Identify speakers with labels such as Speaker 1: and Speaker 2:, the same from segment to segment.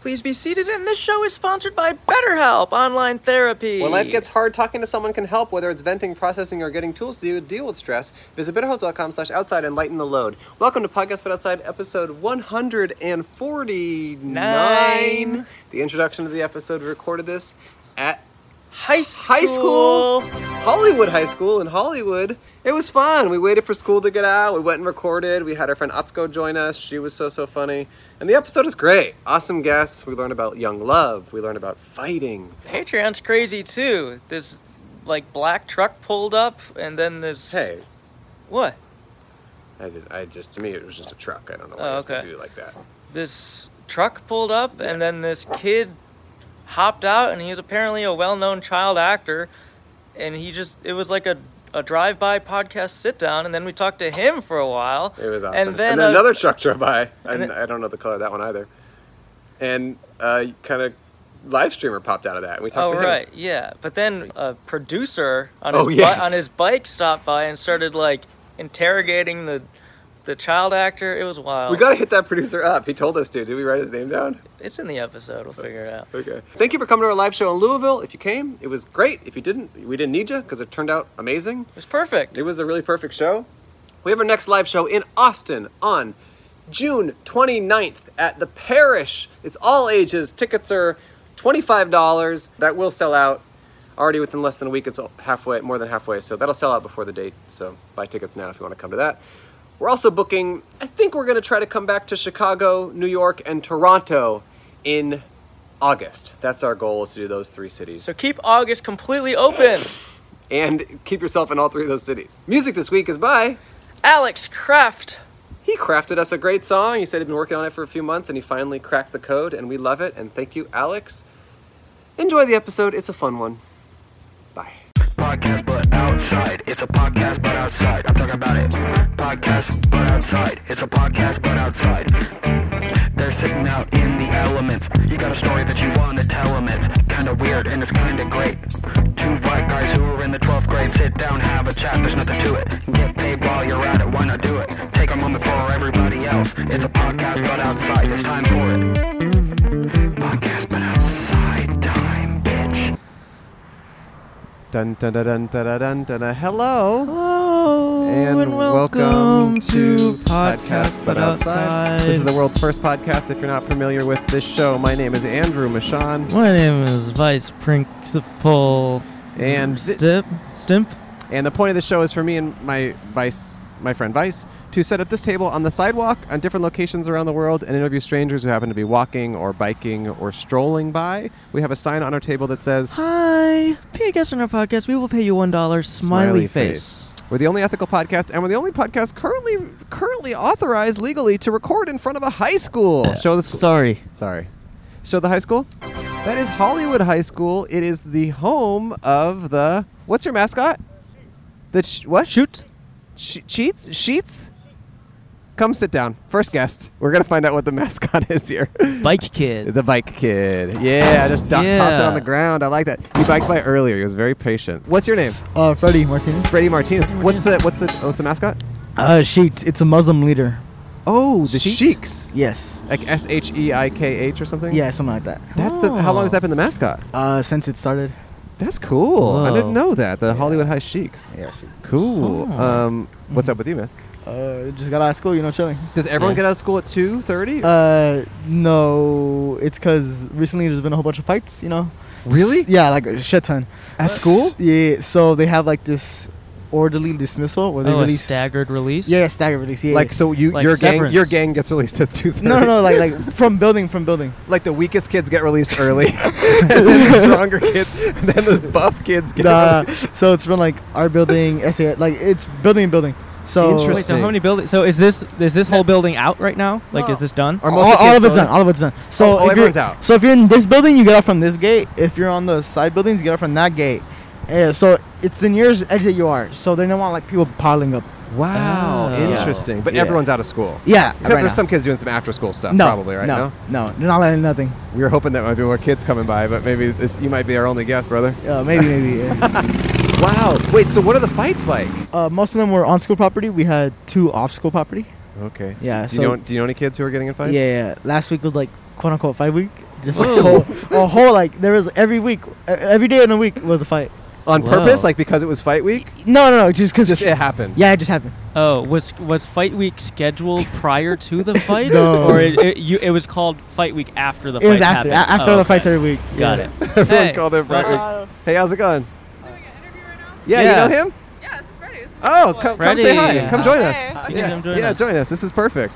Speaker 1: Please be seated. And this show is sponsored by BetterHelp Online Therapy.
Speaker 2: When life gets hard, talking to someone can help, whether it's venting, processing, or getting tools to deal with stress. Visit betterhelp.com slash outside and lighten the load. Welcome to Podcast Fit Outside, episode 149.
Speaker 1: Nine.
Speaker 2: The introduction to the episode, we recorded this at
Speaker 1: high school.
Speaker 2: high school, Hollywood High School in Hollywood. It was fun. We waited for school to get out. We went and recorded. We had our friend Atsuko join us. She was so so funny. And the episode is great. Awesome guests. We learned about young love. We learned about fighting.
Speaker 1: Patreon's crazy too. This like black truck pulled up, and then this.
Speaker 2: Hey,
Speaker 1: What?
Speaker 2: I did. I just to me it was just a truck. I don't know why
Speaker 1: Oh,
Speaker 2: you have to
Speaker 1: okay.
Speaker 2: do it like that.
Speaker 1: This truck pulled up, and then this kid hopped out, and he was apparently a well-known child actor, and he just it was like a. A drive-by podcast sit-down, and then we talked to him for a while.
Speaker 2: It was awesome.
Speaker 1: And then, a-
Speaker 2: another truck drove by. I,
Speaker 1: and then-
Speaker 2: I don't know the color of that one either. And uh, kind of live streamer popped out of that. And we talked
Speaker 1: Oh
Speaker 2: to him.
Speaker 1: right, yeah. But then a producer on his
Speaker 2: Oh,
Speaker 1: bi-
Speaker 2: yes.
Speaker 1: on his bike stopped by and started like interrogating the the child actor. It was wild.
Speaker 2: We got to hit that producer up. He told us to. Did we write his name down?
Speaker 1: it's in the episode.
Speaker 2: Uh,
Speaker 1: We'll figure it out.
Speaker 2: Okay. Thank you for coming to our live show in Louisville. If you came, it was great. If you didn't, we didn't need you because it turned out amazing.
Speaker 1: It was perfect.
Speaker 2: It was a really perfect show. We have our next live show in Austin on June 29th at the Parish. It's all ages. Tickets are $25. That will sell out already within less than a week. It's halfway, more than halfway, so that'll sell out before the date. So buy tickets now if you want to come to that. We're also booking, I think we're going to try to come back to Chicago, New York, and Toronto in August. That's our goal is to do those three cities
Speaker 1: So keep August completely open.
Speaker 2: and keep yourself in all three of those cities. Music this week is by.
Speaker 1: Alex Kraft.
Speaker 2: He crafted us a great song. He said he'd been working on it for a few months and he finally cracked the code, and we love it. And thank you, Alex. Enjoy the episode, it's a fun one. Bye.
Speaker 3: Podcast but outside. It's a podcast but outside. I'm talking about it. Podcast but outside. It's a podcast but outside. They're sitting out in the elements. You got a story that you want to tell them. It's kind of weird and it's kind of great. Two white guys who are in the 12th grade sit down, have a chat. There's nothing to it. Get paid while you're at it. Why not do it? Take a moment for everybody else. It's a podcast but outside. It's time for it. Podcast but outside time, bitch.
Speaker 2: Dun dun dun dun dun dun dun. dun, dun. Hello.
Speaker 1: Hello
Speaker 2: And, welcome, to Podcast But Outside. This is the world's first podcast. If you're not familiar with this show, my name is Andrew Michon.
Speaker 1: My name is Vice Principal
Speaker 2: And thi-
Speaker 1: Stimp. Stimp.
Speaker 2: And the point of the show is for me and my vice, my friend Vice, to set up this table on the sidewalk on different locations around the world and interview strangers who happen to be walking or biking or strolling by. We have a sign on our table that says,
Speaker 1: Hi. Be a guest on our podcast. We will pay you one dollar.
Speaker 2: Smiley face. "We're the only ethical podcast, and we're the only podcast currently currently authorized legally to record in front of a high school." Show the school.
Speaker 1: Sorry.
Speaker 2: Sorry. Show the high school. That is Hollywood High School. It is the home of the. What's your mascot? The ch- what? Shoot. Sh- cheats? Sheets? Come sit down. First guest. We're gonna find out what the mascot is here.
Speaker 4: Bike Kid.
Speaker 2: The bike kid. Yeah, just do- toss it
Speaker 4: Yeah.
Speaker 2: on the ground. I like that. He biked by earlier. He was very patient. What's your name?
Speaker 4: Uh, Freddie Martinez.
Speaker 2: Freddie Martinez. What's the what's the oh, what's the mascot?
Speaker 4: Uh, Sheet. It's a Muslim leader.
Speaker 2: Oh, the
Speaker 4: Sheet?
Speaker 2: Sheiks.
Speaker 4: Yes.
Speaker 2: Like S H E I K H or something.
Speaker 4: Yeah, something like that.
Speaker 2: That's the. How long has that been the mascot?
Speaker 4: Uh, since it started.
Speaker 2: That's cool. I didn't
Speaker 1: Whoa.
Speaker 2: know that. The Hollywood High Sheiks.
Speaker 4: Yeah,
Speaker 2: Cool.
Speaker 1: Oh.
Speaker 2: Um, what's up with you, man?
Speaker 4: Uh, just got out of school, you know, chilling.
Speaker 2: Does everyone
Speaker 1: Yeah.
Speaker 2: get out of school at two thirty?
Speaker 4: Uh, no, it's because recently there's been a whole bunch of fights, you know.
Speaker 2: Really?
Speaker 4: S- yeah, like a shit ton.
Speaker 2: At school?
Speaker 4: Yeah. So they have like this orderly dismissal where they
Speaker 1: Oh, a
Speaker 4: release
Speaker 1: staggered release.
Speaker 4: Yeah, staggered release. Yeah.
Speaker 2: Like so, you
Speaker 1: Like
Speaker 2: your gang
Speaker 1: severance.
Speaker 2: your gang gets released at two thirty.
Speaker 4: No, no, no, like like from building, from building.
Speaker 2: like the weakest kids get released early, and then the stronger kids, and then the buff kids get.
Speaker 4: Nah,
Speaker 2: released.
Speaker 4: so it's from like our building, SA, like it's building, building. So
Speaker 2: Interesting.
Speaker 5: Oh, Wait, so how many buildings? So is this is this whole building out right now? Like, is this done?
Speaker 2: Are
Speaker 4: all,
Speaker 2: most the
Speaker 4: all
Speaker 2: kids
Speaker 4: of it's
Speaker 2: still
Speaker 4: done. All of it's done. So
Speaker 2: Oh, oh,
Speaker 4: if you're-
Speaker 2: everyone's out.
Speaker 4: So if you're in this building, you get out from this gate. If you're on the side buildings, you get out from that gate. Yeah, so it's the nearest exit you are. So they don't want like people piling up.
Speaker 2: in? Wow,
Speaker 5: Oh.
Speaker 2: interesting. But
Speaker 4: Yeah.
Speaker 2: everyone's out of school.
Speaker 4: Yeah.
Speaker 2: Except
Speaker 4: right
Speaker 2: there's
Speaker 4: now.
Speaker 2: some kids doing some after school stuff,
Speaker 4: No,
Speaker 2: probably right
Speaker 4: no,
Speaker 2: now.
Speaker 4: no, they're not letting nothing.
Speaker 2: We were hoping that might be more kids coming by, but maybe this, you might be our only guest, brother.
Speaker 4: Uh, maybe, maybe. yeah.
Speaker 2: Wow. Wait. So what are the fights like?
Speaker 4: Uh, most of them were on school property. We had two off school property.
Speaker 2: Okay.
Speaker 4: Yeah,
Speaker 2: Do
Speaker 4: so-
Speaker 2: you know Do you know any kids who are getting in
Speaker 4: Yeah,
Speaker 2: fights?
Speaker 4: yeah. Last week was like quote unquote five week. Just like a whole, a whole like there was every week, e- every day in a week was a fight.
Speaker 2: on purpose,
Speaker 1: Whoa.
Speaker 2: like because it was fight week.
Speaker 4: No, no, no, just because
Speaker 2: Just it happened.
Speaker 4: Yeah, it just happened.
Speaker 1: Oh, was was fight week scheduled prior to the fight,
Speaker 4: No.
Speaker 1: or it, it, you, it was called fight week after the
Speaker 4: It
Speaker 1: fight
Speaker 4: was after a-
Speaker 1: happened?
Speaker 4: after
Speaker 1: Oh,
Speaker 4: the fights
Speaker 1: okay.
Speaker 4: every week.
Speaker 1: Got
Speaker 4: Yeah.
Speaker 1: it.
Speaker 2: Everyone
Speaker 1: Hey,
Speaker 2: called it
Speaker 1: watch
Speaker 2: fight week. Hey, how's it going?
Speaker 6: doing an interview right now?
Speaker 2: Yeah,
Speaker 1: Yeah.
Speaker 2: you know him?
Speaker 6: Yeah, this is Friday. This is
Speaker 2: Oh,
Speaker 6: cool.
Speaker 2: come, come say hi.
Speaker 1: Freddie.
Speaker 2: Come join us.
Speaker 6: Hey, okay.
Speaker 1: Yeah,
Speaker 2: Yeah,
Speaker 1: come join
Speaker 2: yeah,
Speaker 1: us.
Speaker 2: join us. This is perfect.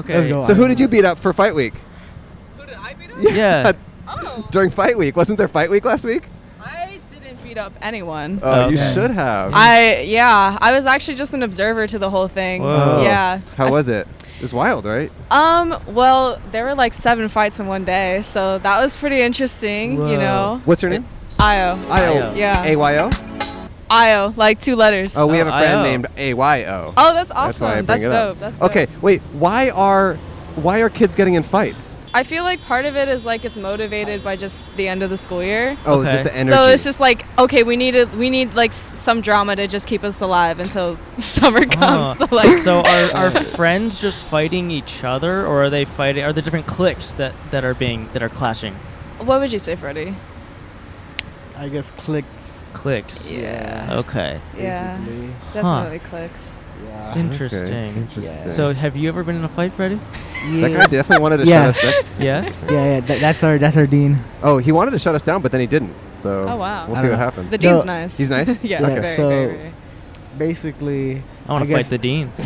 Speaker 1: Okay.
Speaker 4: Let's go.
Speaker 2: So who did you beat up for fight week?
Speaker 6: Who did I beat up?
Speaker 1: Yeah.
Speaker 6: Oh,
Speaker 2: During fight week, wasn't there fight week last week?
Speaker 6: I didn't beat up anyone.
Speaker 2: Oh, you
Speaker 1: Okay.
Speaker 2: should have.
Speaker 6: I yeah, I was actually just an observer to the whole thing.
Speaker 1: Whoa.
Speaker 6: Yeah.
Speaker 2: Oh. How was it? It's wild, right?
Speaker 6: Um. Well, there were like seven fights in one day, so that was pretty interesting.
Speaker 1: Whoa.
Speaker 6: You know.
Speaker 2: What's her name?
Speaker 6: Io.
Speaker 2: Io.
Speaker 6: Yeah.
Speaker 2: Ayo.
Speaker 6: Io. Like two letters.
Speaker 2: Oh, we have a friend
Speaker 1: Io.
Speaker 2: named Ayo.
Speaker 6: Oh, that's awesome.
Speaker 2: That's why I bring it
Speaker 6: dope.
Speaker 2: up.
Speaker 6: That's dope.
Speaker 2: okay, wait. Why are why are kids getting in fights?
Speaker 6: I feel like part of it is like it's motivated by just the end of the school year.
Speaker 2: Oh,
Speaker 1: Okay.
Speaker 2: just the
Speaker 1: So
Speaker 2: energy.
Speaker 6: So it's just like okay, we need a, we need like s- some drama to just keep us alive until summer
Speaker 4: Uh-huh.
Speaker 6: comes.
Speaker 1: Oh.
Speaker 6: So like
Speaker 1: so are, are friends just fighting each other, or are they fighting? Are there different cliques that, that are being that are clashing?
Speaker 6: What would you say, Freddie?
Speaker 4: I guess clicks.
Speaker 1: Cliques.
Speaker 6: Yeah.
Speaker 1: Okay.
Speaker 6: Yeah.
Speaker 4: basically.
Speaker 6: Definitely clicks.
Speaker 4: Yeah.
Speaker 1: Interesting.
Speaker 2: Okay, interesting.
Speaker 1: So have you ever been in a fight, Freddie?
Speaker 2: that guy definitely wanted to
Speaker 4: Yeah.
Speaker 2: shut us down.
Speaker 1: Yeah.
Speaker 4: Yeah, yeah. That, that's our that's our dean.
Speaker 2: Oh, he wanted to shut us down, but then he didn't. So
Speaker 6: Oh, wow.
Speaker 2: we'll
Speaker 4: I
Speaker 2: see
Speaker 4: don't
Speaker 2: what
Speaker 4: know.
Speaker 2: happens.
Speaker 6: The dean's
Speaker 4: No,
Speaker 6: nice.
Speaker 2: He's nice.
Speaker 6: yeah.
Speaker 4: Okay.
Speaker 6: Very,
Speaker 4: So-
Speaker 6: very, very.
Speaker 4: Basically,
Speaker 1: I want
Speaker 4: I
Speaker 1: to fight
Speaker 4: guess-
Speaker 1: the dean.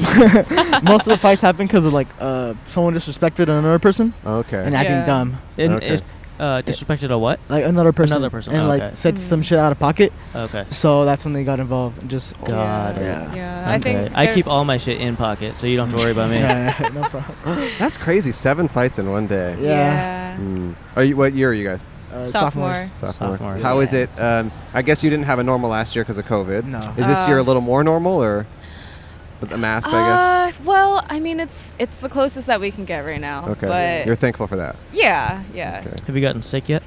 Speaker 4: most of the fights happen because of like uh someone disrespected another person
Speaker 2: Okay.
Speaker 4: and acting
Speaker 6: Yeah.
Speaker 4: dumb.
Speaker 1: And
Speaker 2: Okay.
Speaker 1: it, uh, disrespected a what?
Speaker 4: Like another person.
Speaker 1: Another person, Oh,
Speaker 4: And
Speaker 1: okay.
Speaker 4: like said
Speaker 6: Mm.
Speaker 4: some shit out of pocket.
Speaker 1: Okay.
Speaker 4: So that's when they got involved and just.
Speaker 1: Got God. it.
Speaker 6: Yeah.
Speaker 4: Yeah.
Speaker 6: yeah. I think
Speaker 1: I
Speaker 6: there-
Speaker 1: keep all my shit in pocket, so you don't have to worry about me.
Speaker 4: Yeah, no problem.
Speaker 2: That's crazy. Seven fights in one day.
Speaker 4: Yeah.
Speaker 6: Yeah.
Speaker 2: Hmm. Are you? What year are you guys?
Speaker 4: Uh,
Speaker 6: Sophomore.
Speaker 2: Sophomore.
Speaker 1: Sophomore.
Speaker 2: How is
Speaker 6: Yeah.
Speaker 2: it? Um, I guess you didn't have a normal last year because of COVID.
Speaker 4: No.
Speaker 2: Is this
Speaker 6: Uh,
Speaker 2: year a little more normal or with the mask? I
Speaker 6: Uh, well, I mean, it's it's the closest that we can get right now.
Speaker 2: guess. Okay.
Speaker 6: Uh, But
Speaker 2: You're thankful for that.
Speaker 6: yeah, yeah.
Speaker 2: Okay.
Speaker 1: Have you gotten sick yet?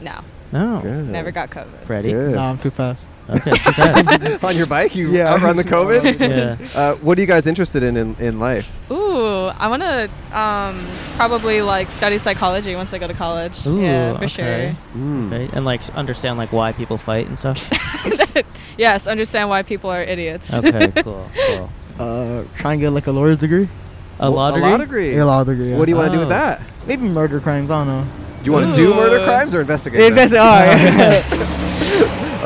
Speaker 6: No,
Speaker 1: No.
Speaker 2: Good.
Speaker 6: never got COVID.
Speaker 1: Freddie.
Speaker 2: Good.
Speaker 4: No, I'm too fast.
Speaker 1: Okay. too bad.
Speaker 2: On your bike, you
Speaker 4: Yeah.
Speaker 2: outrun the COVID.
Speaker 1: yeah.
Speaker 2: uh, what are you guys interested in in, in life?
Speaker 6: Ooh, I want to um, probably like study psychology once I go to college.
Speaker 1: Ooh,
Speaker 6: yeah, for
Speaker 1: okay.
Speaker 4: Hmm.
Speaker 2: Mm.
Speaker 1: Right? And like s- understand like why people fight and stuff.
Speaker 6: sure. yes, understand why people are idiots.
Speaker 1: okay. Cool. Cool.
Speaker 4: Uh, try and get like a lawyer's degree.
Speaker 1: A law
Speaker 2: A
Speaker 1: degree.
Speaker 2: law degree.
Speaker 4: Your law degree. Yeah.
Speaker 2: What do you want to do
Speaker 1: Oh.
Speaker 2: with that?
Speaker 4: Maybe murder crimes. I don't know.
Speaker 2: Do you want to do
Speaker 6: Ooh.
Speaker 2: murder crimes or investigate?
Speaker 4: Yeah,
Speaker 2: them?
Speaker 4: that's all right.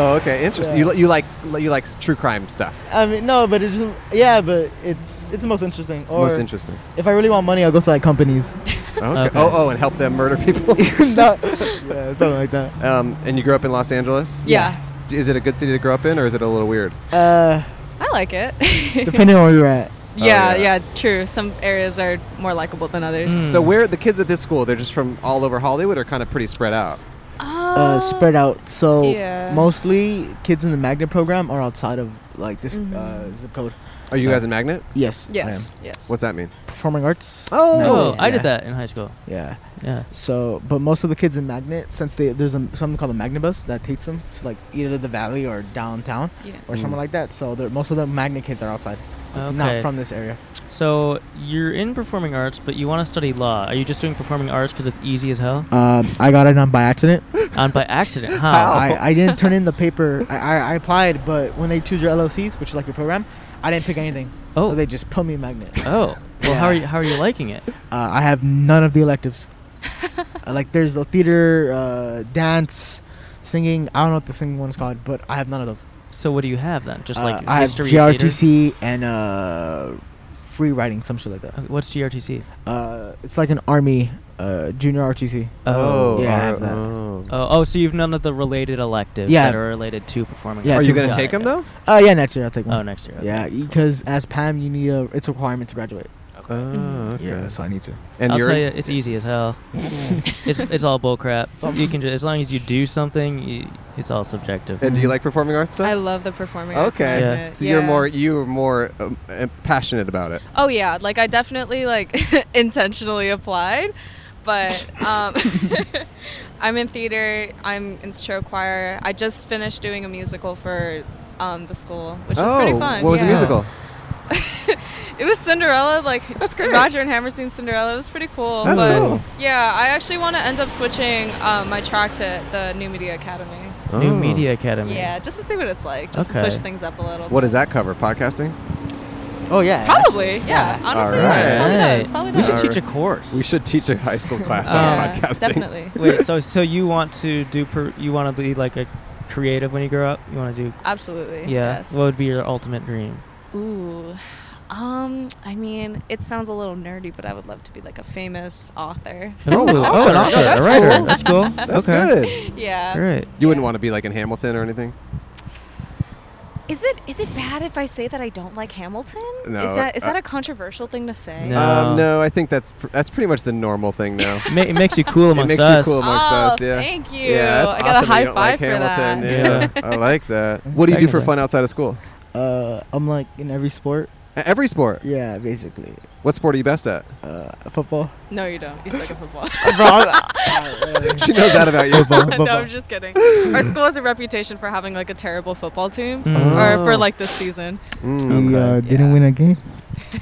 Speaker 2: Oh, okay. Interesting.
Speaker 4: Yeah.
Speaker 2: You, li- you like you like s- true crime stuff.
Speaker 4: I mean, no, but it's just, yeah, but it's it's the most interesting. Or
Speaker 2: Most interesting.
Speaker 4: if I really want money, I'll go to like companies.
Speaker 2: Okay.
Speaker 1: Okay.
Speaker 2: Oh, oh, and help them murder people.
Speaker 4: No. yeah, something like that.
Speaker 2: um, and you grew up in Los Angeles.
Speaker 6: Yeah,
Speaker 2: D- Is it a good city to grow up in, or is it a little weird?
Speaker 4: Uh,
Speaker 6: I like it.
Speaker 4: depending on where you're at.
Speaker 6: yeah,
Speaker 2: Oh, yeah.
Speaker 6: yeah, true. Some areas are more likable than others.
Speaker 1: Mm.
Speaker 2: So where the kids at this school? They're just from all over Hollywood, or kind of pretty spread out.
Speaker 4: Uh, spread out. So
Speaker 6: yeah.
Speaker 4: mostly kids in the magnet program are outside of like this
Speaker 6: Mhm.
Speaker 4: uh, zip code.
Speaker 2: Are you guys in Magnet?
Speaker 4: Yes. I
Speaker 6: Yes,
Speaker 4: am.
Speaker 6: yes.
Speaker 2: What's that mean?
Speaker 4: Performing arts.
Speaker 2: Oh,
Speaker 1: Oh, I
Speaker 4: Yeah.
Speaker 1: did that in high school.
Speaker 4: Yeah.
Speaker 1: Yeah.
Speaker 4: So, but most of the kids in Magnet, since they there's a, something called a Magnet bus that takes them to like either the valley or downtown
Speaker 6: Yeah.
Speaker 4: or
Speaker 1: Mm.
Speaker 4: somewhere like that. So they're- most of the Magnet kids are outside,
Speaker 1: Okay.
Speaker 4: not from this area.
Speaker 1: So you're in performing arts, but you want to study law. Are you just doing performing arts because it's easy as hell?
Speaker 4: Um, I got it on by accident.
Speaker 1: On by accident, huh?
Speaker 4: I, I didn't turn in the paper. I, I, I applied, but when they choose your LLCs, which is like your program, I didn't pick anything.
Speaker 1: Oh.
Speaker 4: So they just put me in Magnet. Uh,
Speaker 1: Oh. Well, how are
Speaker 4: Yeah.
Speaker 1: you? How are you liking it?
Speaker 4: I have none of the electives. uh, like there's a theater, uh, dance, singing. I don't know what the singing one's called, but I have none of those.
Speaker 1: So what do you have then? Just
Speaker 4: Uh,
Speaker 1: like
Speaker 4: I have
Speaker 1: history. theater?
Speaker 4: GRTC and uh, free writing, some shit like that.
Speaker 1: Uh, What's GRTC?
Speaker 4: Uh, it's like an army uh, junior RTC.
Speaker 1: Oh.
Speaker 4: yeah, I
Speaker 2: are-
Speaker 4: have that.
Speaker 2: oh.
Speaker 1: Oh, oh, so you've none of the related electives
Speaker 4: Yeah.
Speaker 1: that are related to performing.
Speaker 4: Yeah,
Speaker 1: arts.
Speaker 2: Are you
Speaker 4: Got
Speaker 2: gonna
Speaker 1: Got
Speaker 2: take
Speaker 1: it.
Speaker 2: them though?
Speaker 4: Oh yeah, next year I'll take one.
Speaker 1: Oh, next year. okay.
Speaker 4: Yeah, because as Pam, you need a. It's a requirement to graduate.
Speaker 2: Oh, okay.
Speaker 4: so I need to.
Speaker 2: And
Speaker 1: I'll
Speaker 2: you're
Speaker 1: tell you, it's easy as hell. it's it's all bull crap. You can ju- as long as you do something, you, it's all subjective.
Speaker 2: and do you like performing arts
Speaker 6: I
Speaker 2: stuff?
Speaker 6: love the performing arts.
Speaker 2: Okay.
Speaker 1: Yeah.
Speaker 6: movement.
Speaker 2: So you're
Speaker 6: Yeah.
Speaker 2: more you're more um, uh, passionate about it.
Speaker 6: Oh yeah, like I definitely like intentionally applied, but um, I'm in theater. I'm in show choir. I just finished doing a musical for um, the school, which was
Speaker 2: oh,
Speaker 6: pretty fun.
Speaker 2: what was the
Speaker 6: yeah.
Speaker 2: musical?
Speaker 6: It was Cinderella, like
Speaker 2: That's great.
Speaker 6: Roger and Hammerstein's Cinderella. It was pretty cool.
Speaker 2: That's
Speaker 6: but
Speaker 2: cool.
Speaker 6: yeah, I actually want to end up switching um, my track to the New Media Academy.
Speaker 1: New
Speaker 2: Oh.
Speaker 1: Media Academy.
Speaker 6: Yeah, just to see what it's like, just
Speaker 1: Okay.
Speaker 6: to switch things up a little.
Speaker 2: What
Speaker 6: bit.
Speaker 2: does that cover? Podcasting?
Speaker 4: Oh yeah.
Speaker 6: Probably, yeah. Honestly,
Speaker 2: Alright.
Speaker 6: yeah, probably
Speaker 1: Alright.
Speaker 6: does. Probably
Speaker 1: We
Speaker 6: does.
Speaker 1: should
Speaker 2: Alright.
Speaker 1: teach a course.
Speaker 2: We should teach a high school class
Speaker 6: Oh, yeah,
Speaker 2: on podcasting.
Speaker 6: definitely.
Speaker 1: Wait, so so you want to do per, you want to be like a creative when you grow up? You want to do
Speaker 6: Absolutely.
Speaker 1: yeah.
Speaker 6: Yes.
Speaker 1: What would be your ultimate dream?
Speaker 6: Ooh. Um, I mean, it sounds a little nerdy, but I would love to be like a famous author.
Speaker 1: Oh,
Speaker 2: an
Speaker 1: oh, an
Speaker 2: author.
Speaker 1: author,
Speaker 2: No, that's
Speaker 1: a writer.
Speaker 2: cool.
Speaker 1: That's cool.
Speaker 2: That's
Speaker 1: okay.
Speaker 2: good.
Speaker 6: yeah.
Speaker 1: Great.
Speaker 2: You wouldn't want to be like in Hamilton or anything?
Speaker 6: Is it is it bad if I say that I don't like Hamilton?
Speaker 2: No,
Speaker 6: Is that is
Speaker 2: uh,
Speaker 6: that a controversial thing to say?
Speaker 1: No.
Speaker 2: Um, no, I think that's pr- that's pretty much the normal thing now.
Speaker 1: Ma- it makes you cool amongst
Speaker 2: makes you
Speaker 1: us.
Speaker 2: cool. amongst
Speaker 6: oh,
Speaker 2: us, yeah.
Speaker 6: thank you.
Speaker 2: Yeah, that's
Speaker 6: I
Speaker 2: awesome
Speaker 6: got a
Speaker 2: that you
Speaker 6: high
Speaker 2: don't
Speaker 6: five
Speaker 2: like
Speaker 6: for
Speaker 2: Hamilton.
Speaker 6: that.
Speaker 2: Yeah, I like that. What do you do for
Speaker 1: Technically.
Speaker 2: fun outside of school?
Speaker 4: Uh, I'm like in every sport.
Speaker 2: A- Every sport.
Speaker 4: Yeah, basically.
Speaker 2: What sport are you best at?
Speaker 4: Uh, football.
Speaker 6: No, you don't. You suck at football.
Speaker 4: Bro, I'm-
Speaker 2: she knows that about you.
Speaker 4: Football,
Speaker 6: no,
Speaker 4: football.
Speaker 6: I'm just kidding. Our school has a reputation for having like a terrible football team,
Speaker 1: Mm.
Speaker 6: or
Speaker 2: Oh.
Speaker 6: for like this season.
Speaker 2: Mm.
Speaker 4: We uh,
Speaker 6: Okay.
Speaker 4: didn't
Speaker 6: Yeah.
Speaker 4: win a game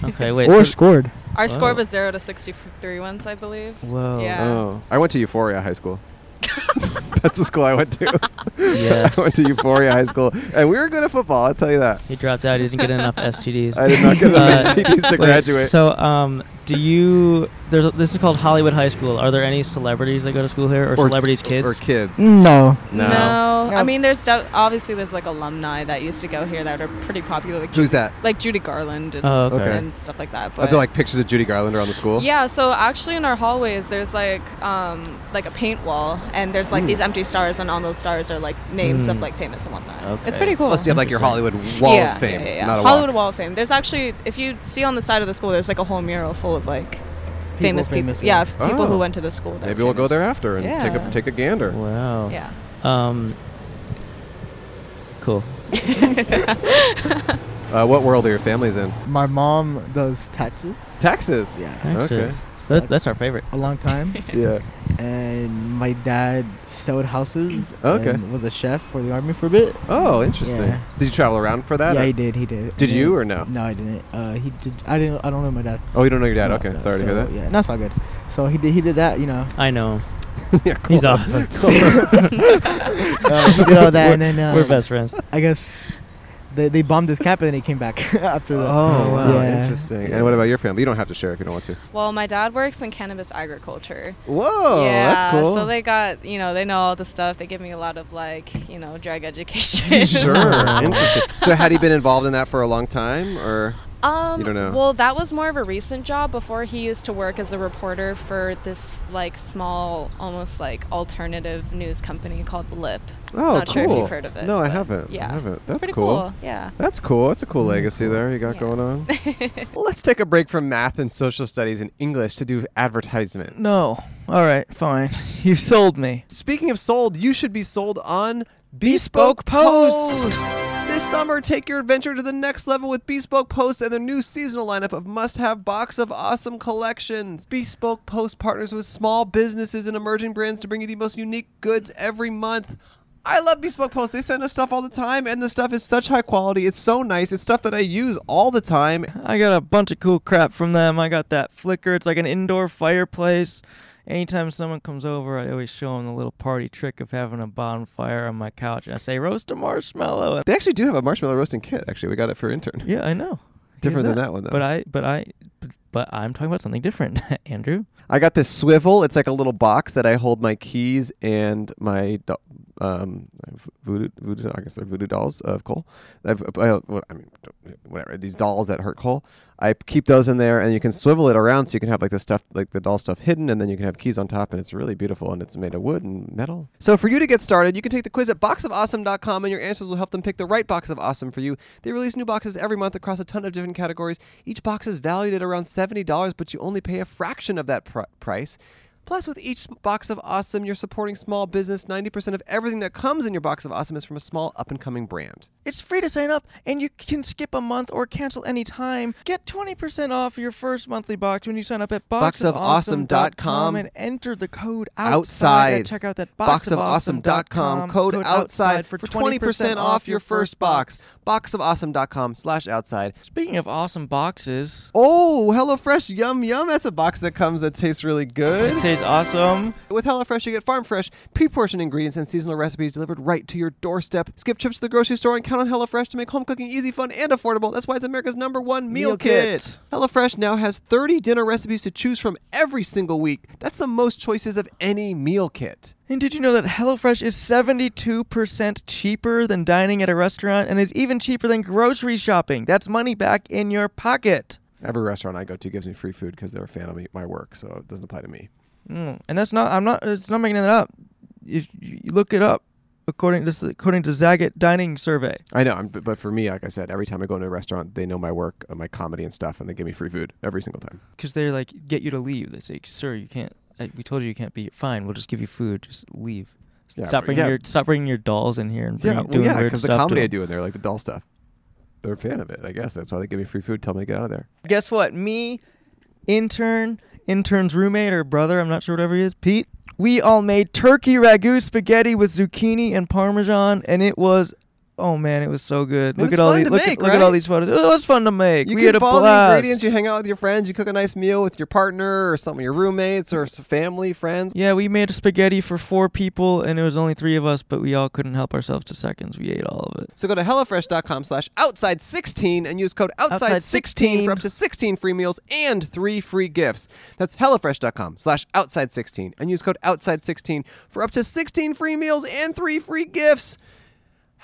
Speaker 1: Okay, wait. so-
Speaker 4: or scored.
Speaker 6: Our
Speaker 1: Wow.
Speaker 6: score was zero to sixty-three once, I believe.
Speaker 1: whoa.
Speaker 6: Yeah.
Speaker 2: Oh, I went to Euphoria High School. That's the school I went to.
Speaker 1: Yeah.
Speaker 2: I went to Euphoria High School, and we were good at football. I'll tell you that.
Speaker 1: He dropped out. He didn't get enough STDs.
Speaker 2: I did not get enough
Speaker 1: Uh,
Speaker 2: STDs to
Speaker 1: wait,
Speaker 2: graduate.
Speaker 1: So, um, do you? There's a, this is called Hollywood High School. Are there any celebrities that go to school here, or, celebrities'
Speaker 2: s-
Speaker 1: kids?
Speaker 2: Or kids.
Speaker 6: Mm.
Speaker 4: No.
Speaker 2: No.
Speaker 4: No.
Speaker 6: I mean, there's de- obviously there's like alumni that used to go here that are pretty popular. Like
Speaker 2: Who's
Speaker 6: Judy,
Speaker 2: that?
Speaker 6: Like Judy Garland and,
Speaker 1: Oh, okay.
Speaker 6: and stuff like that.
Speaker 2: Are
Speaker 6: But
Speaker 2: there like pictures of Judy Garland around the school?
Speaker 6: yeah, so actually in our hallways there's like um, like a paint wall and there's
Speaker 2: Hmm.
Speaker 6: like these empty stars and on those stars are like names
Speaker 1: Mm.
Speaker 6: of like famous alumni. It's
Speaker 1: Okay.
Speaker 6: pretty cool.
Speaker 2: Unless you have like your Hollywood Wall of Fame,
Speaker 6: yeah, yeah.
Speaker 2: not a
Speaker 6: Hollywood
Speaker 2: walk.
Speaker 6: Wall of Fame. There's actually, if you see on the side of the school, there's like a whole mural full of like famous people.
Speaker 4: famous,
Speaker 6: Yeah,
Speaker 4: yeah.
Speaker 6: f- people
Speaker 2: Oh.
Speaker 6: who went to the school. that
Speaker 2: Maybe
Speaker 6: were
Speaker 2: we'll go
Speaker 6: famous.
Speaker 2: there after and take a
Speaker 6: Yeah.
Speaker 2: take a gander.
Speaker 1: Wow.
Speaker 6: Yeah.
Speaker 1: Um. Cool.
Speaker 2: Uh, what world are your families in?
Speaker 4: My mom does taxes.
Speaker 2: Texas.
Speaker 4: yeah.
Speaker 1: Actually,
Speaker 2: Okay.
Speaker 1: that's, that's our favorite.
Speaker 4: A long time.
Speaker 2: Yeah.
Speaker 4: and my dad sold houses.
Speaker 2: Okay.
Speaker 4: And was a chef for the army for a bit.
Speaker 2: Oh, interesting.
Speaker 4: Yeah.
Speaker 2: Did you travel around for that?
Speaker 4: yeah,
Speaker 2: or-
Speaker 4: he did. He did.
Speaker 2: Did
Speaker 4: And
Speaker 2: you
Speaker 4: then-
Speaker 2: or no?
Speaker 4: No, I didn't. Uh, he did. I didn't. I don't know my dad.
Speaker 2: Oh, you don't know your dad.
Speaker 4: No,
Speaker 2: okay,
Speaker 4: no,
Speaker 2: sorry to hear
Speaker 4: so,
Speaker 2: that.
Speaker 4: Yeah, that's all good. So he did. He did that. You know,
Speaker 1: I know. him.
Speaker 2: yeah,
Speaker 1: He's
Speaker 2: cool.
Speaker 1: awesome.
Speaker 4: Uh, he did all that, and then uh,
Speaker 1: We're best friends.
Speaker 4: I guess they, they bombed his camp, and then he came back after that.
Speaker 2: Oh, wow.
Speaker 4: Yeah.
Speaker 2: Interesting. And what about your family? You don't have to share if you don't want to.
Speaker 6: Well, my dad works in cannabis agriculture.
Speaker 2: Whoa,
Speaker 6: yeah,
Speaker 2: Oh, that's cool.
Speaker 6: So they got, you know, they know all the stuff. They give me a lot of like, you know, drug education.
Speaker 2: sure. interesting. So had he been involved in that for a long time or
Speaker 6: Um,
Speaker 2: You don't know.
Speaker 6: Well, that was more of a recent job. Before he used to work as a reporter for this like small, almost like alternative news company called Lip.
Speaker 2: Oh,
Speaker 6: Not sure if
Speaker 2: cool.
Speaker 6: you've heard of it.
Speaker 2: No, I
Speaker 6: but
Speaker 2: haven't. I
Speaker 6: Yeah,
Speaker 2: haven't. That's
Speaker 6: it's pretty
Speaker 2: cool.
Speaker 6: cool. Yeah.
Speaker 2: That's cool. That's a cool legacy there you got
Speaker 6: Yeah.
Speaker 2: going on. Let's take a break from math and social studies and English to do advertisement.
Speaker 7: No. All right, fine. You sold me.
Speaker 2: Speaking of sold, you should be sold on
Speaker 7: Bespoke Post.
Speaker 2: This summer, take your adventure to the next level with Bespoke Post and their new seasonal lineup of must-have box of awesome collections. Bespoke Post partners with small businesses and emerging brands to bring you the most unique goods every month. I love Bespoke Post. They send us stuff all the time, and the stuff is such high quality. It's so nice. It's stuff that I use all the time.
Speaker 7: I got a bunch of cool crap from them. I got that flicker. It's like an indoor fireplace. Anytime someone comes over, I always show them the little party trick of having a bonfire on my couch. And I say, roast a marshmallow. And
Speaker 2: They actually do have a marshmallow roasting kit. Actually, we got it for intern.
Speaker 7: yeah, I know.
Speaker 2: Different
Speaker 7: Here's
Speaker 2: than that one, though.
Speaker 7: But I, but I, but, but I'm talking about something different, Andrew.
Speaker 2: I got this swivel. It's like a little box that I hold my keys and my do- um v- voodoo, voodoo I guess they're voodoo dolls of Cole. I've, I, what- I mean, whatever these dolls that hurt Cole. I keep those in there, and you can swivel it around so you can have like the stuff, like the doll stuff hidden, and then you can have keys on top, and it's really beautiful, and it's made of wood and metal. So for you to get started, you can take the quiz at boxofawesome.com, and your answers will help them pick the right box of awesome for you. They release new boxes every month across a ton of different categories. Each box is valued at around seventy dollars, but you only pay a fraction of that pr- price. Plus, with each sm- box of awesome, you're supporting small business. 90% of everything that comes in your box of awesome is from a small up and coming brand.
Speaker 7: It's free to sign up, and you can skip a month or cancel any time. Get 20% off your first monthly box when you sign up at
Speaker 2: Boxofawesome.com.
Speaker 7: boxofawesome.com and enter the code outside.
Speaker 2: Outside.
Speaker 7: Check out that
Speaker 2: boxofawesome.com
Speaker 7: boxofawesome.com
Speaker 2: code outside for 20% off your first box boxofawesome.com slash outside
Speaker 7: Speaking of awesome boxes,
Speaker 2: oh HelloFresh yum yum that's a box that comes that tastes really
Speaker 7: it
Speaker 2: good
Speaker 7: tastes awesome.
Speaker 2: with HelloFresh you get farm fresh pre-portioned ingredients and seasonal recipes delivered right to your doorstep skip trips to the grocery store and count on HelloFresh to make home cooking easy fun and affordable that's why it's America's number one meal,
Speaker 7: Meal
Speaker 2: kit.
Speaker 7: kit.
Speaker 2: HelloFresh now has 30 dinner recipes to choose from every single week that's the most choices of any meal kit
Speaker 7: And did you know that HelloFresh is 72% cheaper than dining at a restaurant and is even cheaper than grocery shopping? That's money back in your pocket.
Speaker 2: Every restaurant I go to gives me free food because they're a fan of me, my work, so it doesn't apply to me.
Speaker 7: Mm, And that's not I'm not it's not making it up. If you you look it up according to this according to Zagat dining survey.
Speaker 2: I know, I'm, but but for me, like I said, every time I go into a restaurant, they know my work, uh, my comedy and stuff, and they give me free food every single time.
Speaker 7: Cuz they're like get you to leave. They say, "Sir, you can't I, we told you you can't be here. Fine, we'll just give you food. Just leave.
Speaker 2: Yeah,
Speaker 1: stop
Speaker 2: but-
Speaker 1: bringing
Speaker 2: yeah.
Speaker 1: your stop bringing your dolls in here and bring,
Speaker 2: yeah,
Speaker 1: doing
Speaker 2: well, yeah,
Speaker 1: weird
Speaker 2: because the
Speaker 1: stuff to
Speaker 2: comedy I
Speaker 1: them.
Speaker 2: do in there, like the doll stuff, they're a fan of it. I guess that's why they give me free food. Tell me to get out of there.
Speaker 7: Guess what? Me, intern, intern's roommate or brother, I'm not sure whatever he is, Pete, we all made turkey ragu spaghetti with zucchini and parmesan, and it was. Oh man, it was so good!
Speaker 2: And
Speaker 7: Look
Speaker 2: it's
Speaker 7: at all
Speaker 2: fun
Speaker 7: these
Speaker 2: to
Speaker 7: look,
Speaker 2: make,
Speaker 7: at, look at all
Speaker 2: right?
Speaker 7: these photos. It was fun to make.
Speaker 2: You
Speaker 7: we
Speaker 2: can
Speaker 7: had a
Speaker 2: follow
Speaker 7: blast.
Speaker 2: the ingredients. You hang out with your friends. You cook a nice meal with your partner or some of your roommates or s- family, friends.
Speaker 7: yeah, we made spaghetti for four people, and it was only three of us, but we all couldn't help ourselves to seconds. We ate all of it.
Speaker 2: So go to HelloFresh.com slash outside16 and use code outside16 for up to 16 free meals and three free gifts. That's HelloFresh.com slash outside16 and use code outside16 for up to 16 free meals and three free gifts.